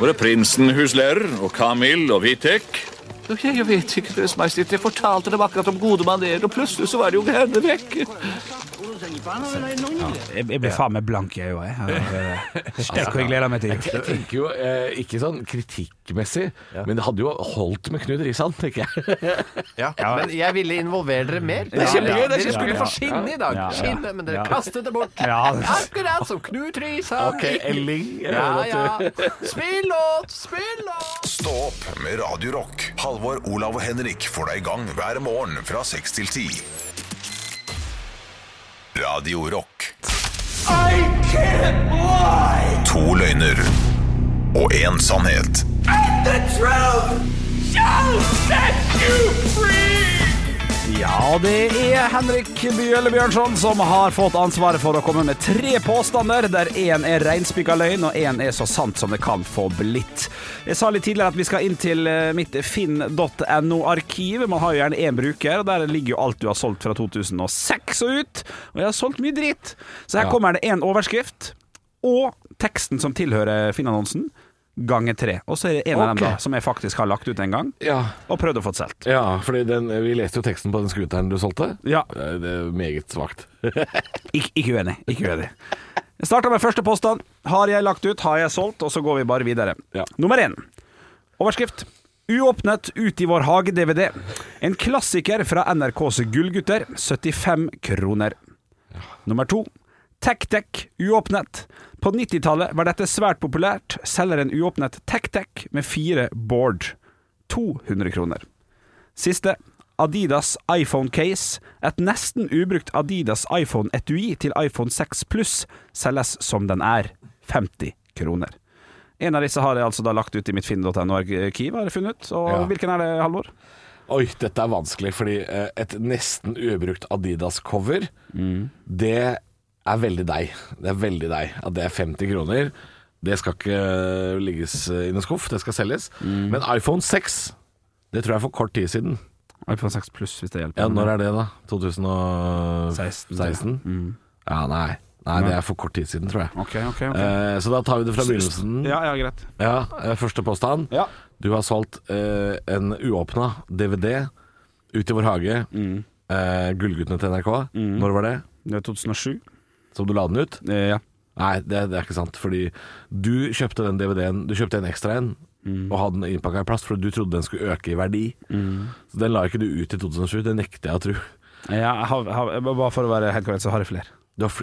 [SPEAKER 11] Våre prinsen husler og Kamil og Vitek.
[SPEAKER 17] Jeg, jeg vet ikke, Deres Majestet. Jeg fortalte dem akkurat om gode manerer, og plutselig så var det jo herrene vekk.
[SPEAKER 4] Jeg, jeg blir faen meg blank i øya, jeg. Stekk og jeg gleder meg til
[SPEAKER 3] Jeg, jeg tenker jo eh, ikke sånn kritikkmessig, men det hadde jo holdt med Knut Risan, tenker jeg.
[SPEAKER 5] Ja, men jeg ville involvere dere mer.
[SPEAKER 3] Det er kjempegøy, det er
[SPEAKER 5] Dere
[SPEAKER 3] kjempegøy.
[SPEAKER 5] skulle få skinne i dag.
[SPEAKER 3] Ja, ja.
[SPEAKER 5] Skinne, men dere
[SPEAKER 3] Ja.
[SPEAKER 5] kastet det bort.
[SPEAKER 3] Ja.
[SPEAKER 5] Akkurat som Knut Risan.
[SPEAKER 3] Ok, Elling, jeg
[SPEAKER 5] Ja,
[SPEAKER 3] hører at
[SPEAKER 5] ja.
[SPEAKER 3] du-
[SPEAKER 5] Spill låt, spill låt!
[SPEAKER 1] Stå opp med Radio Rock. Halvor, Olav og Henrik får deg i gang hver morgen fra 6 til 10. Radio Rock.
[SPEAKER 6] I can't lie!
[SPEAKER 1] To løgner og én sannhet.
[SPEAKER 6] And the truth shall set you free!
[SPEAKER 4] Ja, det er Henrik Bjølle Bjørnson som har fått ansvaret for å komme med tre påstander, der én er reinspikka løgn, og én er så sant som det kan få blitt. Jeg sa litt tidligere at vi skal inn til eh, mitt finn.no-arkiv. Man har jo gjerne én bruker, og der ligger jo alt du har solgt fra 2006 og ut. Og jeg har solgt mye dritt. Så her
[SPEAKER 3] Ja.
[SPEAKER 4] kommer det én overskrift, og teksten som tilhører Finn-annonsen, ganger tre. Og så er det en av
[SPEAKER 3] Ok.
[SPEAKER 4] dem da, som jeg faktisk har lagt ut en gang,
[SPEAKER 3] Ja.
[SPEAKER 4] og prøvd å få solgt.
[SPEAKER 3] Ja, fordi den, vi leste jo teksten på den skuteren du solgte.
[SPEAKER 4] Ja.
[SPEAKER 3] Det det er meget svakt.
[SPEAKER 4] Ik ikke uenig. Ikke uenig. Jeg starter med første påstand. Har jeg lagt ut, har jeg solgt, og så går vi bare videre. Nummer én. Overskrift. Uåpnet Ut i vår hage-DVD. En klassiker fra NRKs Gullgutter. 75 kroner. Nummer to. Tech-Tech uåpnet. På 90-tallet var dette svært populært. Selger en uåpnet Tech-Tech med fire board. 200 kroner. Siste. Adidas iPhone Case. Et nesten ubrukt Adidas iPhone Etui til iPhone 6 Pluss selges som den er. 50 kroner. En av disse har jeg altså da lagt ut i mitt finn.no-arkiv, har jeg funnet ut. Og
[SPEAKER 3] Ja.
[SPEAKER 4] hvilken er det, Halvor?
[SPEAKER 3] Oi, dette er vanskelig, fordi eh, et nesten ubrukt Adidas-cover, det er veldig deg. Det er veldig deg at det er 50 kroner. Det skal ikke eh, ligges i en skuff, det skal selges. Men iPhone 6, det tror jeg er for kort tid siden.
[SPEAKER 4] iPhone 6 pluss, hvis det hjelper.
[SPEAKER 3] Ja, når er det da? 2016? Ja, nei. Nei, det er for kort tid siden, tror jeg.
[SPEAKER 4] Mm. Ok, ok, ok.
[SPEAKER 3] Eh, så da tar vi det fra begynnelsen.
[SPEAKER 4] Ja, ja, greit.
[SPEAKER 3] Ja, eh, første påstand.
[SPEAKER 4] Ja.
[SPEAKER 3] Du har solgt eh, en uåpna DVD ut i vår hage.
[SPEAKER 4] Mm.
[SPEAKER 3] Eh, Gullguttene til NRK. Når var det?
[SPEAKER 4] Det var 2007.
[SPEAKER 3] Som du la den ut?
[SPEAKER 4] Eh, Ja.
[SPEAKER 3] Nei, det, det er ikke sant. Fordi du kjøpte den DVD-en Du kjøpte en ekstra en.
[SPEAKER 4] Mm.
[SPEAKER 3] Og hadde den innpakka i plast, for du trodde den skulle øke i verdi. Så den la ikke du ut i 2007, det nekter jeg å tro.
[SPEAKER 4] Ja, jeg har, har, bare for å være helt korrekt, så har jeg flere.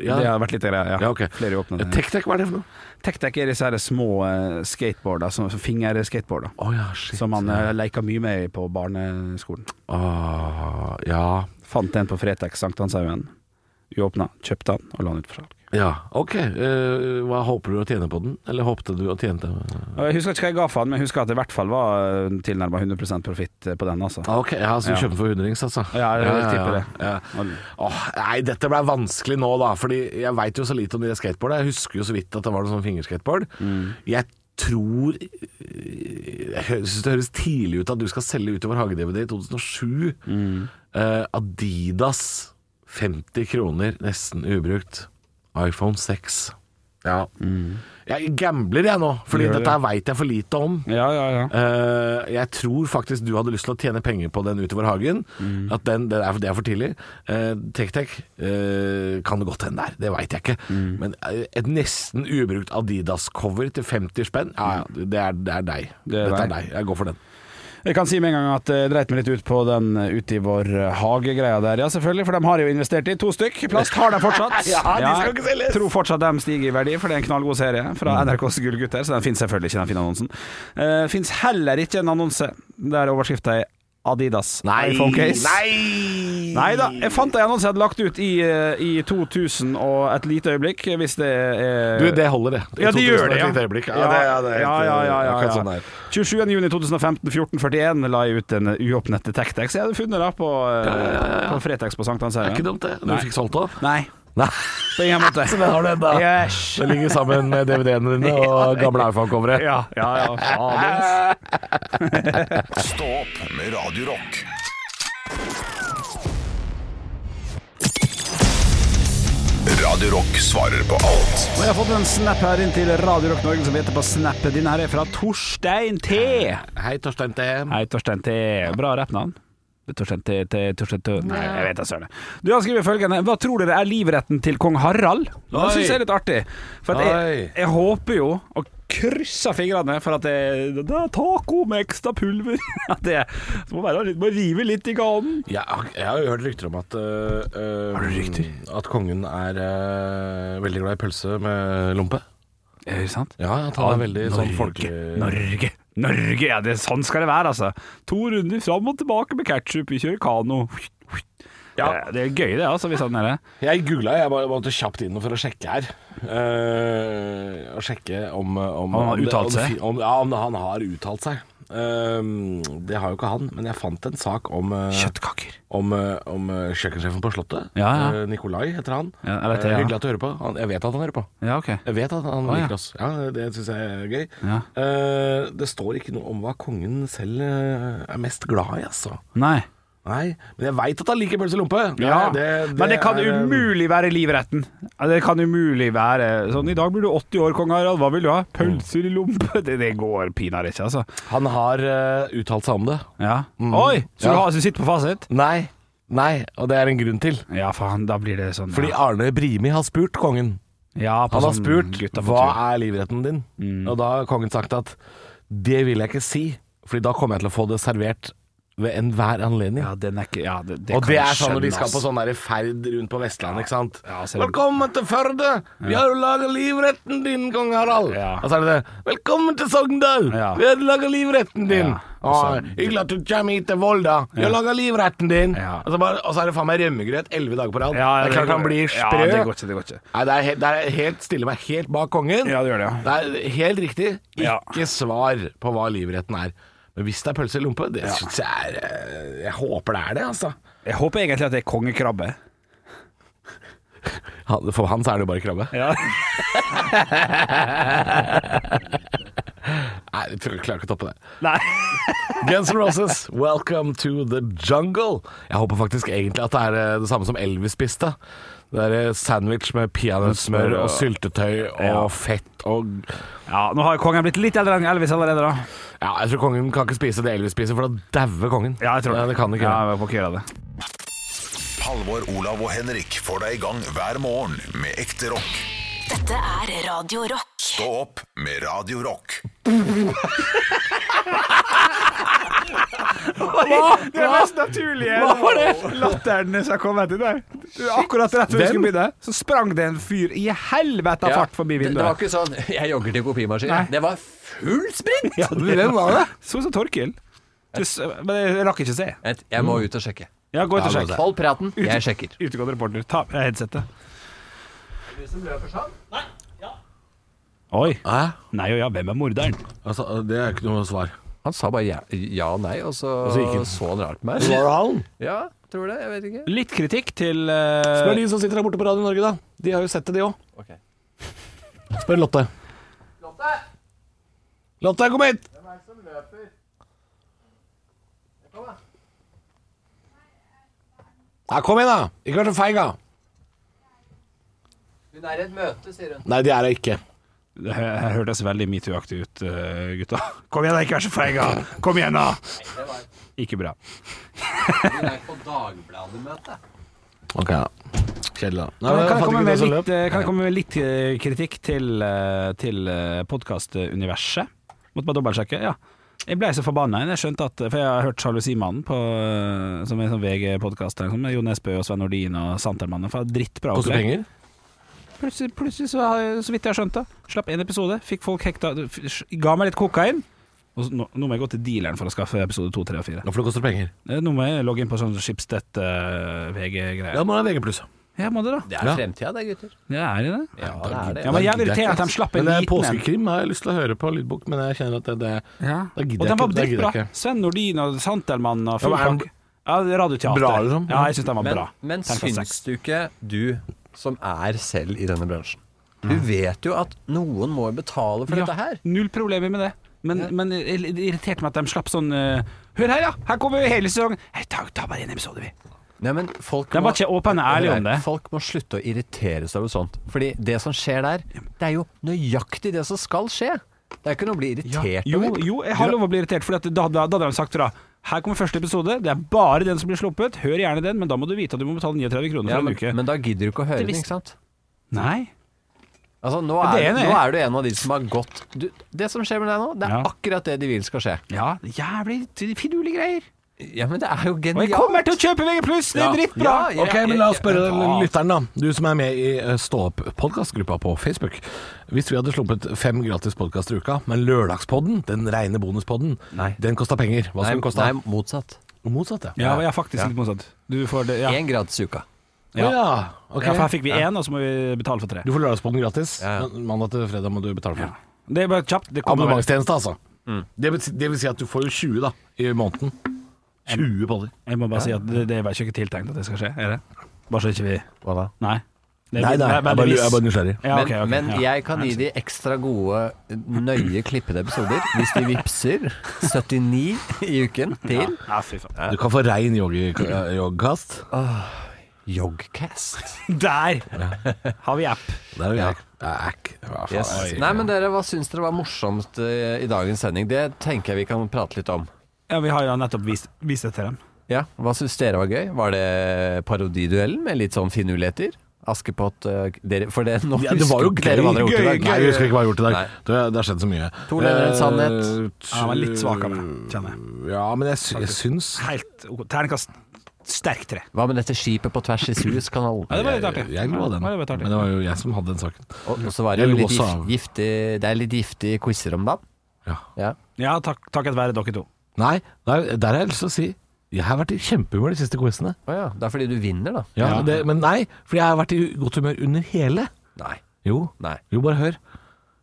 [SPEAKER 3] ja.
[SPEAKER 4] Det har vært litt greier, ja.
[SPEAKER 3] Ja, ok. Eh,
[SPEAKER 4] Flere åpne.
[SPEAKER 3] Tek-tek, hva er det for noe?
[SPEAKER 4] Tek-tek er disse her små eh, skateboarder, som- som fingerskateboarder. som man eh, leker mye med på barneskolen.
[SPEAKER 3] ja.
[SPEAKER 4] Fant en på Fretex Sankthanshaugen. Uåpna. Kjøpte den og la den ut for salg.
[SPEAKER 3] Ja, ok. Eh, hva håper du å tjene på den? Eller håpte du å tjene den?
[SPEAKER 4] Og Jeg husker ikke hva jeg ga for den, men jeg husker at det i hvert fall var eh, tilnærma 100 profitt eh, på den. Altså.
[SPEAKER 3] Ok, ja, så du kjøper den for hundrings, altså?
[SPEAKER 4] Ja, jeg tipper det.
[SPEAKER 3] ja. Åh, nei, dette ble vanskelig nå, da. Fordi jeg veit jo så lite om de der skateboardene. Jeg husker jo så vidt at det var noe sånn fingerskateboard.
[SPEAKER 4] Mm.
[SPEAKER 3] Jeg tror eh, Jeg syns det høres tidlig ut at du skal selge utover hagedvd i 2007.
[SPEAKER 4] Mm.
[SPEAKER 3] Eh, Adidas 50 kroner, nesten ubrukt. iPhone 6. Ja. Jeg gambler jeg nå, fordi
[SPEAKER 4] Mm. Gjør det.
[SPEAKER 3] dette her veit jeg for lite om.
[SPEAKER 4] Ja, ja, ja.
[SPEAKER 3] Eh, jeg tror faktisk du hadde lyst til å tjene penger på den utover hagen. At den, det, er, det er for tidlig. Eh, Tek-Tek eh, kan det godt hende der, det veit jeg ikke. Men eh, et nesten ubrukt Adidas-cover til 50 spenn, ja, ja, det er, det er deg.
[SPEAKER 4] er
[SPEAKER 3] Dette
[SPEAKER 4] deg.
[SPEAKER 3] er deg. Jeg går for den.
[SPEAKER 4] Jeg kan si med en gang at jeg dreit meg litt ut på den eh, ute i vår eh, hagegreia der. Ja, selvfølgelig, for de har jo investert i to stykk. Plast har de fortsatt.
[SPEAKER 3] <laughs> Ja, de skal ikke selges. Mm.
[SPEAKER 4] Jeg tror fortsatt de stiger i verdi, for det er en knallgod serie fra NRKs Gullgutter. Så den finnes selvfølgelig ikke, den fine annonsen. Uh, finnes heller ikke en annonse der overskrifta er Adidas iPhone Case.
[SPEAKER 3] Nei!
[SPEAKER 4] Nei da, jeg fant en annonse jeg hadde lagt ut i, eh, i 2000 og et lite øyeblikk, hvis det er
[SPEAKER 3] Du, det holder, det. I
[SPEAKER 4] Ja,
[SPEAKER 3] 2000
[SPEAKER 4] det gjør
[SPEAKER 3] og et
[SPEAKER 4] det, ja.
[SPEAKER 3] lite øyeblikk. Ja, det- ja, det er helt-
[SPEAKER 4] ja, ja, ja, ja,
[SPEAKER 3] akkurat
[SPEAKER 4] ja.
[SPEAKER 3] sånn det er.
[SPEAKER 4] 27. juni 2015, 1441, la jeg ut en uåpnet Tektex. Jeg hadde funnet det på, eh, på Fretex på
[SPEAKER 3] Det er
[SPEAKER 4] Sankthanshaugen.
[SPEAKER 3] ikke dumt, det. Du
[SPEAKER 4] Nei.
[SPEAKER 3] fikk <laughs> solgt det.
[SPEAKER 4] Nei.
[SPEAKER 3] Nei.
[SPEAKER 4] På ingen måte.
[SPEAKER 3] <laughs> Så den har du ennå.
[SPEAKER 4] Yes.
[SPEAKER 3] Det ligger sammen med DVD-ene dine og gamle iPhone-coveret.
[SPEAKER 4] Ja, ja, ja.
[SPEAKER 1] Stå opp med Radio Rock. Radio Rock svarer på alt.
[SPEAKER 4] Og jeg har fått en snap her inn til Radio Rock Norge som heter på snappet. Din her er fra Torstein T.
[SPEAKER 3] Hei, Torstein T.
[SPEAKER 4] Hei, Torstein T. Bra rappnavn. Det er Torstein T. T. Torstein T. Nei, jeg vet da søren. Du har skrevet følgende Hva tror dere er livretten til kong Harald? Det
[SPEAKER 3] Oi.
[SPEAKER 4] syns jeg er litt artig. For at jeg,
[SPEAKER 3] Oi.
[SPEAKER 4] jeg håper jo og krysser fingrene for at det, det er taco med ekstra pulver. <laughs> At det det må være litt, må rive litt i ganen.
[SPEAKER 3] Jeg, har- jeg har jo hørt rykter om at øh, øh, At kongen er øh, veldig glad i pølse med lompe.
[SPEAKER 4] Er det sant?
[SPEAKER 3] Ja, at han er veldig sånn
[SPEAKER 4] Norge,
[SPEAKER 3] folke...
[SPEAKER 4] Norge, Norge! Ja, det, sånn skal det være, altså. To runder fram og tilbake med ketsjup, vi kjører kano. Ja. Det er gøy, det, altså, hvis han er det.
[SPEAKER 3] Jeg googla, jeg bare måtte kjapt inn for å sjekke her. Eh, og sjekke om, om
[SPEAKER 4] Han har
[SPEAKER 3] om det-
[SPEAKER 4] uttalt
[SPEAKER 3] om det
[SPEAKER 4] seg?
[SPEAKER 3] fin- Om, ja, om han har uttalt seg. Eh, det har jo ikke han, men jeg fant en sak om eh,
[SPEAKER 4] Kjøttkaker.
[SPEAKER 3] Om, eh, om eh, kjøkkensjefen på Slottet.
[SPEAKER 4] Ja, ja.
[SPEAKER 3] Eh, Nikolai heter han.
[SPEAKER 4] Ja, jeg vet det,
[SPEAKER 3] Eh,
[SPEAKER 4] ja.
[SPEAKER 3] Hyggelig at du hører på. Han, jeg vet at han hører på.
[SPEAKER 4] Ja, ok.
[SPEAKER 3] Jeg vet at han
[SPEAKER 4] Å, ja.
[SPEAKER 3] liker oss. Ja, Det syns jeg er gøy.
[SPEAKER 4] Ja.
[SPEAKER 3] Eh, det står ikke noe om hva kongen selv eh, er mest glad i, altså.
[SPEAKER 4] Nei.
[SPEAKER 3] Nei, men jeg veit at han liker pølse og lompe. Det-
[SPEAKER 4] Ja,
[SPEAKER 3] det- det
[SPEAKER 4] men det kan
[SPEAKER 3] er, eh,
[SPEAKER 4] umulig være livretten. Ja, Det kan umulig være sånn I dag blir du 80 år, kong Harald. Hva vil du ha? Pølser i lompe? <laughs> Det, det går pinadø ikke, altså.
[SPEAKER 3] Han har eh, uttalt seg om det.
[SPEAKER 4] Ja.
[SPEAKER 3] Mm.
[SPEAKER 4] Oi! Så
[SPEAKER 3] Ja.
[SPEAKER 4] du har- så du sitter på fasit?
[SPEAKER 3] Nei. Nei, og det er en grunn til.
[SPEAKER 4] Ja, faen. Da blir det sånn.
[SPEAKER 3] Fordi
[SPEAKER 4] ja.
[SPEAKER 3] Arne Brimi har spurt kongen.
[SPEAKER 4] Ja,
[SPEAKER 3] Han
[SPEAKER 4] på
[SPEAKER 3] har
[SPEAKER 4] sånn
[SPEAKER 3] spurt
[SPEAKER 4] gutta på
[SPEAKER 3] hva
[SPEAKER 4] tur. Mm.
[SPEAKER 3] er livretten din? Og da har kongen sagt at det vil jeg ikke si, Fordi da kommer jeg til å få det servert ved enhver anledning.
[SPEAKER 4] Ja, den er ikke Ja, det, det
[SPEAKER 3] og
[SPEAKER 4] kan
[SPEAKER 3] det
[SPEAKER 4] jeg
[SPEAKER 3] er sånn når de
[SPEAKER 4] skjønne,
[SPEAKER 3] skal på
[SPEAKER 4] ass.
[SPEAKER 3] sånn der ferd rundt på Vestlandet, ikke sant.
[SPEAKER 4] Ja, så er det-
[SPEAKER 3] Velkommen til Førde! Vi har jo laga livretten din, kong Harald!
[SPEAKER 4] Ja.
[SPEAKER 3] Og så er det det. Velkommen til Sogndal!
[SPEAKER 4] Ja.
[SPEAKER 3] Vi har laga livretten din!
[SPEAKER 4] Ja, og så-
[SPEAKER 3] Å, hyggelig at du kommer hit til Volda! Vi har
[SPEAKER 4] Ja.
[SPEAKER 3] laga livretten din!
[SPEAKER 4] Ja.
[SPEAKER 3] Og, så bare, og så er det faen meg rømmegrøt elleve dager på rad.
[SPEAKER 4] Ja,
[SPEAKER 3] det er klart han blir sprø.
[SPEAKER 4] Ja, det går ikke, det går ikke.
[SPEAKER 3] Nei, det er helt, det er helt stille meg helt bak kongen.
[SPEAKER 4] Ja, det gjør det, ja.
[SPEAKER 3] Det er helt riktig. Ikke svar på hva livretten er. Men hvis det er pølse i lompe, det synes jeg er eh, Jeg håper det er det, altså.
[SPEAKER 4] Jeg håper egentlig at det er kongekrabbe.
[SPEAKER 3] Han- For han så er det jo bare krabbe.
[SPEAKER 4] Ja.
[SPEAKER 3] <laughs> Nei, jeg tror jeg klarer ikke å toppe det.
[SPEAKER 4] Nei.
[SPEAKER 3] Guns N' Roses, welcome to the jungle. Jeg håper faktisk egentlig at det er eh, det samme som Elvis spiste. Det er eh, sandwich med peanøttsmør og syltetøy og
[SPEAKER 4] Ja.
[SPEAKER 3] fett og
[SPEAKER 4] Ja, nå har kongen blitt litt eldre enn Elvis allerede, da.
[SPEAKER 3] Ja, jeg tror kongen kan ikke spise det Elvis spiser, for da dauer kongen.
[SPEAKER 4] Ja, jeg tror
[SPEAKER 3] det. kan ikke
[SPEAKER 4] Ja, jeg må ikke gjøre det.
[SPEAKER 1] Halvor, Olav og Henrik får deg i gang hver morgen med ekte rock.
[SPEAKER 2] Dette er Radio Rock.
[SPEAKER 1] Stå opp med Radio Rock.
[SPEAKER 18] Hva?
[SPEAKER 4] Det er mest naturlige
[SPEAKER 18] Hva var det?
[SPEAKER 4] latteren som har kommet i dag. Akkurat rett før vi
[SPEAKER 18] Hvem?
[SPEAKER 4] skulle begynne, så sprang det en fyr i helvete
[SPEAKER 5] Ja,
[SPEAKER 4] fart forbi
[SPEAKER 5] det-
[SPEAKER 4] vinduet.
[SPEAKER 5] Det var ikke sånn <laughs> 'jeg jogger til kopimaskinen'. Det var full sprint!
[SPEAKER 4] Ja, det
[SPEAKER 5] Hvem var det?
[SPEAKER 4] Så ut som Torkil. Du s- Men jeg rakk ikke se.
[SPEAKER 5] Et, <laughs> jeg må ut og sjekke.
[SPEAKER 4] Ja, gå ut og
[SPEAKER 5] Ja,
[SPEAKER 4] sjekk.
[SPEAKER 5] Hold praten, jeg sjekker.
[SPEAKER 4] Utegående reporter, ta av deg headsetet.
[SPEAKER 5] sånn.
[SPEAKER 4] Oi. Nei og ja, hvem er morderen?
[SPEAKER 3] det er ikke noe svar.
[SPEAKER 5] Han sa bare ja, ja og nei, og så,
[SPEAKER 4] Og så
[SPEAKER 5] så,
[SPEAKER 4] gikk han.
[SPEAKER 5] han rart på meg.
[SPEAKER 4] Så var det han?
[SPEAKER 5] Ja, tror det. Jeg vet ikke.
[SPEAKER 4] Litt kritikk til eh,
[SPEAKER 3] Spør de som sitter der borte på Radio Norge, da. De har jo sett det, de òg. Spør Lotte. Lotte, kom hit! Ja, kom igjen, da! Ikke vær så feig, da.
[SPEAKER 5] Hun er i et møte, sier hun.
[SPEAKER 4] Nei, det er jeg ikke. Det her hørtes veldig metoo-aktig ut, eh, gutta. Kom igjen, da, ikke vær så feig, da! Kom igjen, da!
[SPEAKER 5] det var-
[SPEAKER 4] Ikke bra.
[SPEAKER 5] Hun er på Dagbladet-møte.
[SPEAKER 3] Ok, da. Kjedelig, da. Nei,
[SPEAKER 4] Kan,
[SPEAKER 3] fant
[SPEAKER 4] kan, jeg komme
[SPEAKER 3] ikke
[SPEAKER 4] med
[SPEAKER 3] det som
[SPEAKER 4] litt,
[SPEAKER 3] løp.
[SPEAKER 4] eh, kan jeg komme med litt eh, kritikk til, eh, til podkastuniverset? Måtte bare dobbeltsjekke. Ja. Jeg ble så forbanna. Jeg skjønte at For jeg har hørt Sjalusimannen, på, eh, som er en sånn VG-podkast. Liksom, med Jo Nesbø og Sven Nordin og Santermannen. For drittbra
[SPEAKER 3] Koster penger?
[SPEAKER 4] Plutselig, plutselig så, har jeg- så vidt jeg har skjønt det. Slapp én episode, fikk folk hekta f- Ga meg litt kokain. Og så, nå, nå må jeg gå til dealeren for å skaffe episode to, tre og fire.
[SPEAKER 3] Hvorfor det koster penger?
[SPEAKER 4] Eh, Nå må jeg logge inn på sånn Schibsted eh, VG-greier.
[SPEAKER 3] Ja, må ha VG pluss.
[SPEAKER 4] Ja, må det da.
[SPEAKER 5] Det er fremtida, det, gutter.
[SPEAKER 4] Det er det.
[SPEAKER 5] Ja, det er det.
[SPEAKER 4] Ja, men jeg vil irritere at de slapp en
[SPEAKER 3] Men det er
[SPEAKER 4] liten en.
[SPEAKER 3] påskekrim har jeg lyst til å høre på lydbok, men jeg kjenner at det, det Da
[SPEAKER 4] Og
[SPEAKER 3] gidder
[SPEAKER 4] den
[SPEAKER 3] jeg ikke.
[SPEAKER 4] var
[SPEAKER 3] Da gidder
[SPEAKER 4] dritbra.
[SPEAKER 3] jeg ikke.
[SPEAKER 4] Sven Nordin og Santelmann og
[SPEAKER 3] Ja,
[SPEAKER 4] full
[SPEAKER 3] men er den
[SPEAKER 4] pakke. Ja, det er Radioteater.
[SPEAKER 3] bra, liksom?
[SPEAKER 4] Ja, jeg syns den var
[SPEAKER 5] men,
[SPEAKER 4] bra.
[SPEAKER 5] Men
[SPEAKER 4] Terningkast
[SPEAKER 5] syns du ikke, du som er selv i denne bransjen Du vet jo at noen må betale for
[SPEAKER 4] Mm. Ja,
[SPEAKER 5] dette her.
[SPEAKER 4] Null problemer med det. Men, men det irriterte meg at de slapp sånn eh, Hør her, ja! Her kommer jo hele sesongen! Hei, ta, ta bare en episode, vi.
[SPEAKER 5] Nei, men folk
[SPEAKER 4] Den var ikke åpen og ærlig om det.
[SPEAKER 5] Folk må slutte å irritere seg over sånt. Fordi det som skjer der, det er jo nøyaktig det som skal skje. Det er ikke noe å bli irritert
[SPEAKER 4] Jo,
[SPEAKER 5] over.
[SPEAKER 4] jo, jeg har lov å bli irritert, for da, da, da hadde de sagt fra. Her kommer første episode, det er bare den som blir sluppet. Hør gjerne den, men da må du vite at du må betale 39 kroner for
[SPEAKER 5] Ja, men,
[SPEAKER 4] en uke.
[SPEAKER 5] men da gidder du ikke å høre
[SPEAKER 4] Det
[SPEAKER 5] den,
[SPEAKER 4] visste-
[SPEAKER 5] ikke sant?
[SPEAKER 4] Nei.
[SPEAKER 5] Altså, nå
[SPEAKER 4] Ja,
[SPEAKER 5] er,
[SPEAKER 4] det er enig.
[SPEAKER 5] nå er du en av de som har gått du, Det som skjer med deg nå, det er
[SPEAKER 4] Ja.
[SPEAKER 5] akkurat det de vil skal skje.
[SPEAKER 4] Ja, jævlig finurlige greier.
[SPEAKER 5] Ja, men det er jo
[SPEAKER 4] Og jeg
[SPEAKER 5] genialt.
[SPEAKER 4] kommer til å kjøpe VG+, det
[SPEAKER 5] Ja.
[SPEAKER 4] er drittbra!
[SPEAKER 5] Ja, ja,
[SPEAKER 3] Ok, men La oss spørre
[SPEAKER 5] ja, ja.
[SPEAKER 3] lytteren, da. Du som er med i eh, Stå opp-podkastgruppa på Facebook. Hvis vi hadde sluppet fem gratis podkaster i uka, men lørdagspodden, den reine bonuspodden, den kosta penger. Hva
[SPEAKER 5] Nei,
[SPEAKER 3] skulle den kosta?
[SPEAKER 5] nei, motsatt.
[SPEAKER 3] Motsatt, ja.
[SPEAKER 4] Ja, jeg er faktisk litt motsatt. Du får det, ja.
[SPEAKER 5] Én gratis i uka.
[SPEAKER 4] Ja.
[SPEAKER 3] Å ja, ok.
[SPEAKER 4] Ja, for her fikk vi
[SPEAKER 3] Ja.
[SPEAKER 4] én, og så må vi betale for tre.
[SPEAKER 3] Du får lørdagspodden gratis. men Mandag til fredag må du betale for den.
[SPEAKER 4] Det er bare kjapt. Det kommer Mm. vel-
[SPEAKER 3] Abonnementstjeneste, altså. Det, vil, det vil si at du får jo 20 da i måneden. 20 podder.
[SPEAKER 4] Jeg må bare si at det, det var ikke tiltenkt at det skal skje, er det? Bare så ikke vi
[SPEAKER 5] Hva da?
[SPEAKER 4] Nei. Det er-
[SPEAKER 3] Nei, nei, jeg er bare-
[SPEAKER 4] veldigvis.
[SPEAKER 3] jeg er bare nysgjerrig.
[SPEAKER 4] Ja, ok,
[SPEAKER 5] men
[SPEAKER 4] ok,
[SPEAKER 5] men
[SPEAKER 4] ja.
[SPEAKER 5] jeg kan gi de ekstra gode, nøye klippede episoder hvis
[SPEAKER 4] <laughs>
[SPEAKER 5] de vipser 79 i uken til
[SPEAKER 4] Ja, fy faen.
[SPEAKER 3] Du kan få rein eh, joggkast.
[SPEAKER 5] Joggcast.
[SPEAKER 4] Der har vi app.
[SPEAKER 3] Der er vi her. Æk. Hva faen
[SPEAKER 5] Yes.
[SPEAKER 3] er det?
[SPEAKER 5] Nei, men dere, hva syns dere var morsomt eh, i dagens sending? Det tenker jeg vi kan prate litt om.
[SPEAKER 4] Ja, vi har jo nettopp vist, vist det til dem.
[SPEAKER 5] Ja, Hva syns dere var gøy? Var det parodiduellen med litt sånn finurligheter? Askepott eh, dere, For det, nå
[SPEAKER 3] Ja, det var jo
[SPEAKER 5] husker ikke
[SPEAKER 3] gøy.
[SPEAKER 5] dere hva dere har gjort i dag.
[SPEAKER 3] Nei, vi husker ikke hva vi har gjort i dag.
[SPEAKER 5] Nei.
[SPEAKER 3] Det, det har skjedd så mye.
[SPEAKER 5] To løgner, en sannhet.
[SPEAKER 3] Eh,
[SPEAKER 4] Ja, men litt svakere, kjenner jeg.
[SPEAKER 3] Ja, men jeg, sy jeg syns
[SPEAKER 4] Helt ok. Terningkast sterk tre.
[SPEAKER 5] Hva med dette skipet på tvers i Suezkanalen?
[SPEAKER 4] Ja, det var litt artig.
[SPEAKER 3] Jeg, jeg lo av den,
[SPEAKER 4] Ja, det var litt artig.
[SPEAKER 3] men det var jo jeg som hadde den saken.
[SPEAKER 5] Og og så var det
[SPEAKER 3] Jeg
[SPEAKER 5] jo
[SPEAKER 3] lo
[SPEAKER 5] litt
[SPEAKER 3] også
[SPEAKER 5] gif-
[SPEAKER 3] av
[SPEAKER 5] giftig Det er litt giftige quizer om dagen.
[SPEAKER 3] Ja.
[SPEAKER 5] Ja.
[SPEAKER 4] Ja, takk, takket være dere to.
[SPEAKER 3] Nei, nei, der har jeg lyst til å si jeg har vært i kjempehumør de siste quizene.
[SPEAKER 5] Å ja. Det er fordi du vinner, da.
[SPEAKER 3] Ja,
[SPEAKER 5] Ja.
[SPEAKER 3] Det, men nei, for jeg har vært i godt humør under hele.
[SPEAKER 5] Nei.
[SPEAKER 3] Jo,
[SPEAKER 5] Nei.
[SPEAKER 3] jo bare hør.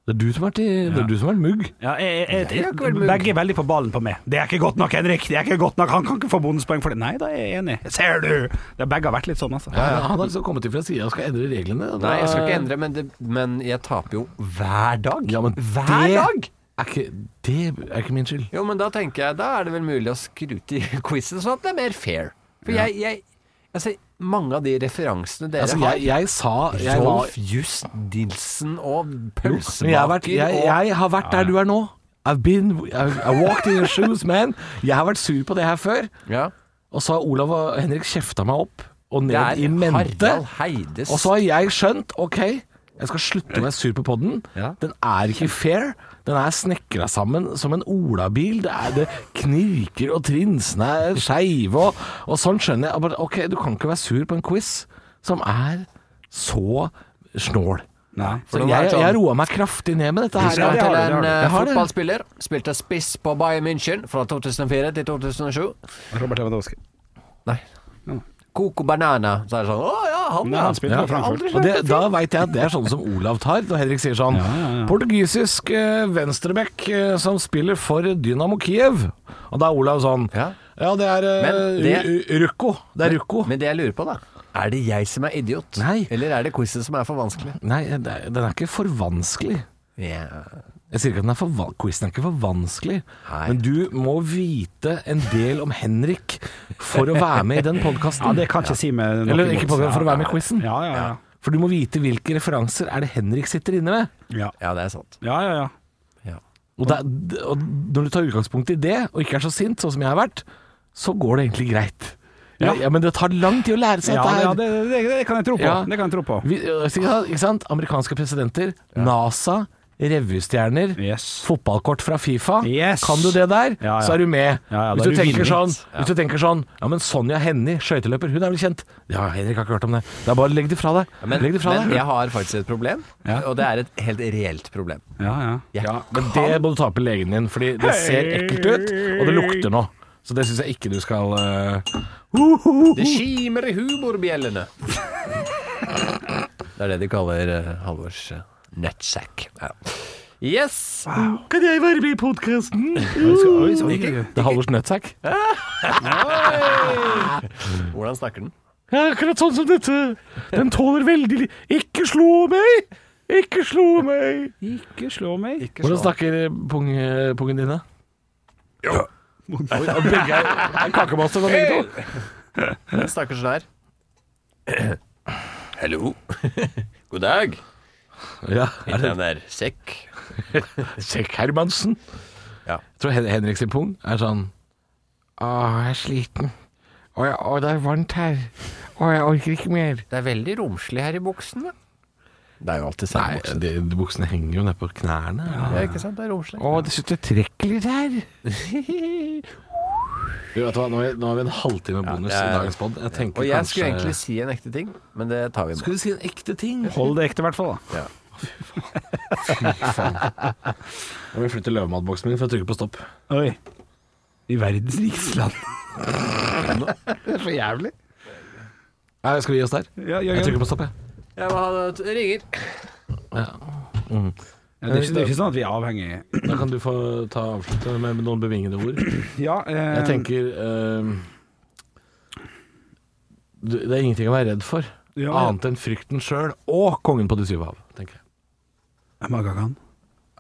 [SPEAKER 3] Det er du som har vært, i, det er du som har vært mugg.
[SPEAKER 4] Ja, jeg, jeg,
[SPEAKER 3] Jeg har
[SPEAKER 4] jeg,
[SPEAKER 3] ikke vært mugg.
[SPEAKER 4] begge er veldig på ballen på meg. Det er ikke godt nok, Henrik. Det er ikke godt nok. Han kan ikke få bonuspoeng for det. Nei, da er jeg enig. Ser du! Det, begge har vært litt sånn, altså.
[SPEAKER 3] Ja, ja, han har liksom kommet inn fra sida og skal endre reglene. og da-
[SPEAKER 5] Nei, jeg skal ikke endre, men, det, men jeg taper jo hver dag.
[SPEAKER 3] Ja, men
[SPEAKER 5] hver
[SPEAKER 3] det
[SPEAKER 5] dag!
[SPEAKER 3] Er ikke, det er ikke min skyld.
[SPEAKER 5] Jo, men da tenker jeg Da er det vel mulig å skru til <laughs> quizen sånn at det er mer fair. For jeg, jeg Altså, mange av de referansene dere
[SPEAKER 3] Altså,
[SPEAKER 5] har
[SPEAKER 3] jeg, jeg sa jeg var,
[SPEAKER 5] Rolf Just Nilsen og
[SPEAKER 3] Men jeg, har vært,
[SPEAKER 5] pølsemaker
[SPEAKER 3] jeg, jeg har vært der du er nå. I've been I've, I walked in your shoes, man. Jeg har vært sur på det her før.
[SPEAKER 5] Ja.
[SPEAKER 3] Og så har Olav og Henrik kjefta meg opp og
[SPEAKER 5] Det
[SPEAKER 3] ned
[SPEAKER 5] er
[SPEAKER 3] i mente.
[SPEAKER 5] Harald Heides
[SPEAKER 3] Og så har jeg skjønt OK, jeg Jeg skal slutte å være sur på podden. Den er ikke fair. Den er snekra sammen som en olabil. Det, er, det knirker og trinsene er skeive og, og sånn skjønner jeg. Bare, Ok, du kan ikke være sur på en quiz som er så snål.
[SPEAKER 5] for
[SPEAKER 3] Så
[SPEAKER 5] den
[SPEAKER 3] jeg,
[SPEAKER 5] er
[SPEAKER 3] jeg,
[SPEAKER 5] sånn-
[SPEAKER 3] roa meg kraftig ned med dette
[SPEAKER 5] Vi
[SPEAKER 3] her.
[SPEAKER 5] skal
[SPEAKER 3] Jeg-
[SPEAKER 5] til
[SPEAKER 3] jeg-
[SPEAKER 5] en
[SPEAKER 3] jeg
[SPEAKER 5] eh,
[SPEAKER 3] har det.
[SPEAKER 5] fotballspiller. Spilte spiss på Bayern München fra 2004 til 2007.
[SPEAKER 4] Robert Lewandowski.
[SPEAKER 5] Nei. Coco Banana, så er det sånn. Å ja, han, ja.
[SPEAKER 3] Ja.
[SPEAKER 5] Jeg har aldri
[SPEAKER 3] Og
[SPEAKER 5] hørt
[SPEAKER 3] det,
[SPEAKER 5] det
[SPEAKER 3] da veit jeg at det er sånne som Olav tar, når Henrik sier sånn Portugisisk eh, venstreback eh, som spiller for Dynamo Kiev. Og da er Olav sånn Ja, det er
[SPEAKER 5] Men
[SPEAKER 3] eh,
[SPEAKER 5] det-
[SPEAKER 3] Ru- Ru- Rukko. Det er Rukko.
[SPEAKER 5] Men det jeg lurer på, da. Er det jeg som er idiot? Nei. Eller er det quizen som er for vanskelig?
[SPEAKER 3] Nei, det er- den er ikke for vanskelig. Jeg sier ikke at den er for va- quizen er ikke for vanskelig, men du må vite en del om Henrik for å være med i
[SPEAKER 5] <laughs>
[SPEAKER 3] den podkasten.
[SPEAKER 4] Ja, det kan ikke si meg noe
[SPEAKER 3] Eller ikke
[SPEAKER 4] imot.
[SPEAKER 3] podcasten, for å
[SPEAKER 4] Ja,
[SPEAKER 3] være med i quizen.
[SPEAKER 4] ja, ja, ja.
[SPEAKER 3] For du må vite hvilke referanser er det Henrik sitter inne med.
[SPEAKER 4] Ja,
[SPEAKER 5] det er sant.
[SPEAKER 4] Ja, ja, ja.
[SPEAKER 3] Og, det, og når du tar utgangspunkt i det, og ikke er så sint, sånn som jeg har vært, så går det egentlig greit. Ja,
[SPEAKER 4] Ja.
[SPEAKER 3] ja. Men det tar lang tid å lære seg
[SPEAKER 4] Ja,
[SPEAKER 3] dette her.
[SPEAKER 4] ja det, det, det kan jeg tro på.
[SPEAKER 3] Ja.
[SPEAKER 4] Det kan jeg tro på.
[SPEAKER 3] Vi, øh, ikke sant? Amerikanske presidenter, NASA, revystjerner, fotballkort fra Fifa. Kan du det der,
[SPEAKER 4] Ja, ja.
[SPEAKER 3] så er du med.
[SPEAKER 4] Ja, ja, da
[SPEAKER 3] hvis,
[SPEAKER 4] er
[SPEAKER 3] du
[SPEAKER 4] du
[SPEAKER 3] tenker
[SPEAKER 4] villig.
[SPEAKER 3] sånn,
[SPEAKER 4] Ja.
[SPEAKER 3] hvis du tenker sånn Ja, men Sonja Hennie, skøyteløper, hun er vel kjent? Ja, Henrik har ikke hørt om det. Det er bare å legge det fra deg.
[SPEAKER 5] Men,
[SPEAKER 3] legg det fra
[SPEAKER 5] men
[SPEAKER 3] deg.
[SPEAKER 5] jeg har faktisk et problem, og det er et helt reelt problem. Jeg
[SPEAKER 3] Men det må du ta opp med legen din, fordi det ser ekkelt ut, og det lukter nå. Så det syns jeg ikke du skal eh,
[SPEAKER 5] Det kimer i humorbjellene. Det er det de kaller eh, Halvors eh, nutsack. Ja. Yes!
[SPEAKER 3] Kan jeg være med i podkasten? Det er Halvors nøttsekk.
[SPEAKER 5] Hvordan snakker den?
[SPEAKER 3] Ja, akkurat sånn som dette. Den tåler veldig li... Ikke slå meg! Ikke slå meg!
[SPEAKER 4] Ikke slå meg.
[SPEAKER 3] Hvordan snakker pung, pungen din, da? Oi, og Begge er, er kakemaster på begge to.
[SPEAKER 5] Den snakker sånn her. Hallo. God dag.
[SPEAKER 3] Ja, er
[SPEAKER 5] Mitt
[SPEAKER 3] det-
[SPEAKER 5] navn er Sekk.
[SPEAKER 3] Sjekk Hermansen.
[SPEAKER 5] Ja.
[SPEAKER 3] Jeg tror Hen Henrik sin pung er sånn Å, jeg er sliten. Å, ja, å, det er varmt her. Å, jeg orker ikke mer.
[SPEAKER 5] Det er veldig romslig her i buksene. Det er jo alltid
[SPEAKER 3] Nei, de, de buksene henger jo ned på knærne.
[SPEAKER 5] Ja, ikke sant? Det er romslig.
[SPEAKER 3] Å, det sitter trekk litt her. <laughs> Du, vet du hva, nå har vi- nå har vi en halvtime bonus
[SPEAKER 5] Ja,
[SPEAKER 3] i
[SPEAKER 5] ja.
[SPEAKER 3] dagens pod. Jeg tenker
[SPEAKER 5] Og jeg
[SPEAKER 3] kanskje
[SPEAKER 5] skulle egentlig si en ekte ting, men det tar vi med.
[SPEAKER 3] Skulle du si en ekte ting?
[SPEAKER 4] Hold det ekte, i hvert fall. da.
[SPEAKER 5] Ja.
[SPEAKER 3] Fy faen. Jeg vil flytte løvematboksen min for å trykke på stopp.
[SPEAKER 4] Oi. I verdens rikeste land.
[SPEAKER 3] <laughs> Det er for jævlig. Nei, skal vi gi oss der?
[SPEAKER 4] Ja, ja, ja.
[SPEAKER 3] Jeg trykker på stopp, jeg.
[SPEAKER 5] Jeg må ha det ringer.
[SPEAKER 3] Ja. Mm.
[SPEAKER 4] Ja, det, er ikke, det er ikke sånn at vi er avhengig
[SPEAKER 3] Da kan du få ta avslutte med noen bevingede ord.
[SPEAKER 4] Ja, eh,
[SPEAKER 3] Jeg tenker eh, du- Det er ingenting å være redd for,
[SPEAKER 4] Ja.
[SPEAKER 3] annet enn frykten sjøl og kongen på de syv hav, tenker jeg.
[SPEAKER 4] Magagan.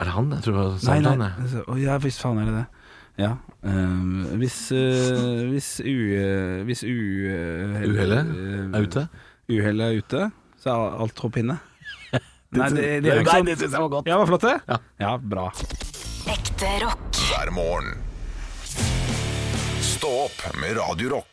[SPEAKER 3] Er det han? Jeg tror det var
[SPEAKER 4] Nei, nei.
[SPEAKER 3] Samtan, jeg.
[SPEAKER 4] altså, å, Ja, hvis faen er det det. Ja. eh, hvis eh, Hvis u... eh, hvis u... eh,
[SPEAKER 3] Uhellet
[SPEAKER 4] eh,
[SPEAKER 3] er ute?
[SPEAKER 4] Uhellet er ute, så er alt hopp inne.
[SPEAKER 1] Nei,
[SPEAKER 4] ikke sånn.
[SPEAKER 1] det synes jeg var godt.
[SPEAKER 4] Ja, var flott, det? ja bra.
[SPEAKER 2] Ekte rock.
[SPEAKER 1] hver morgen. Stå opp med Radio Rock.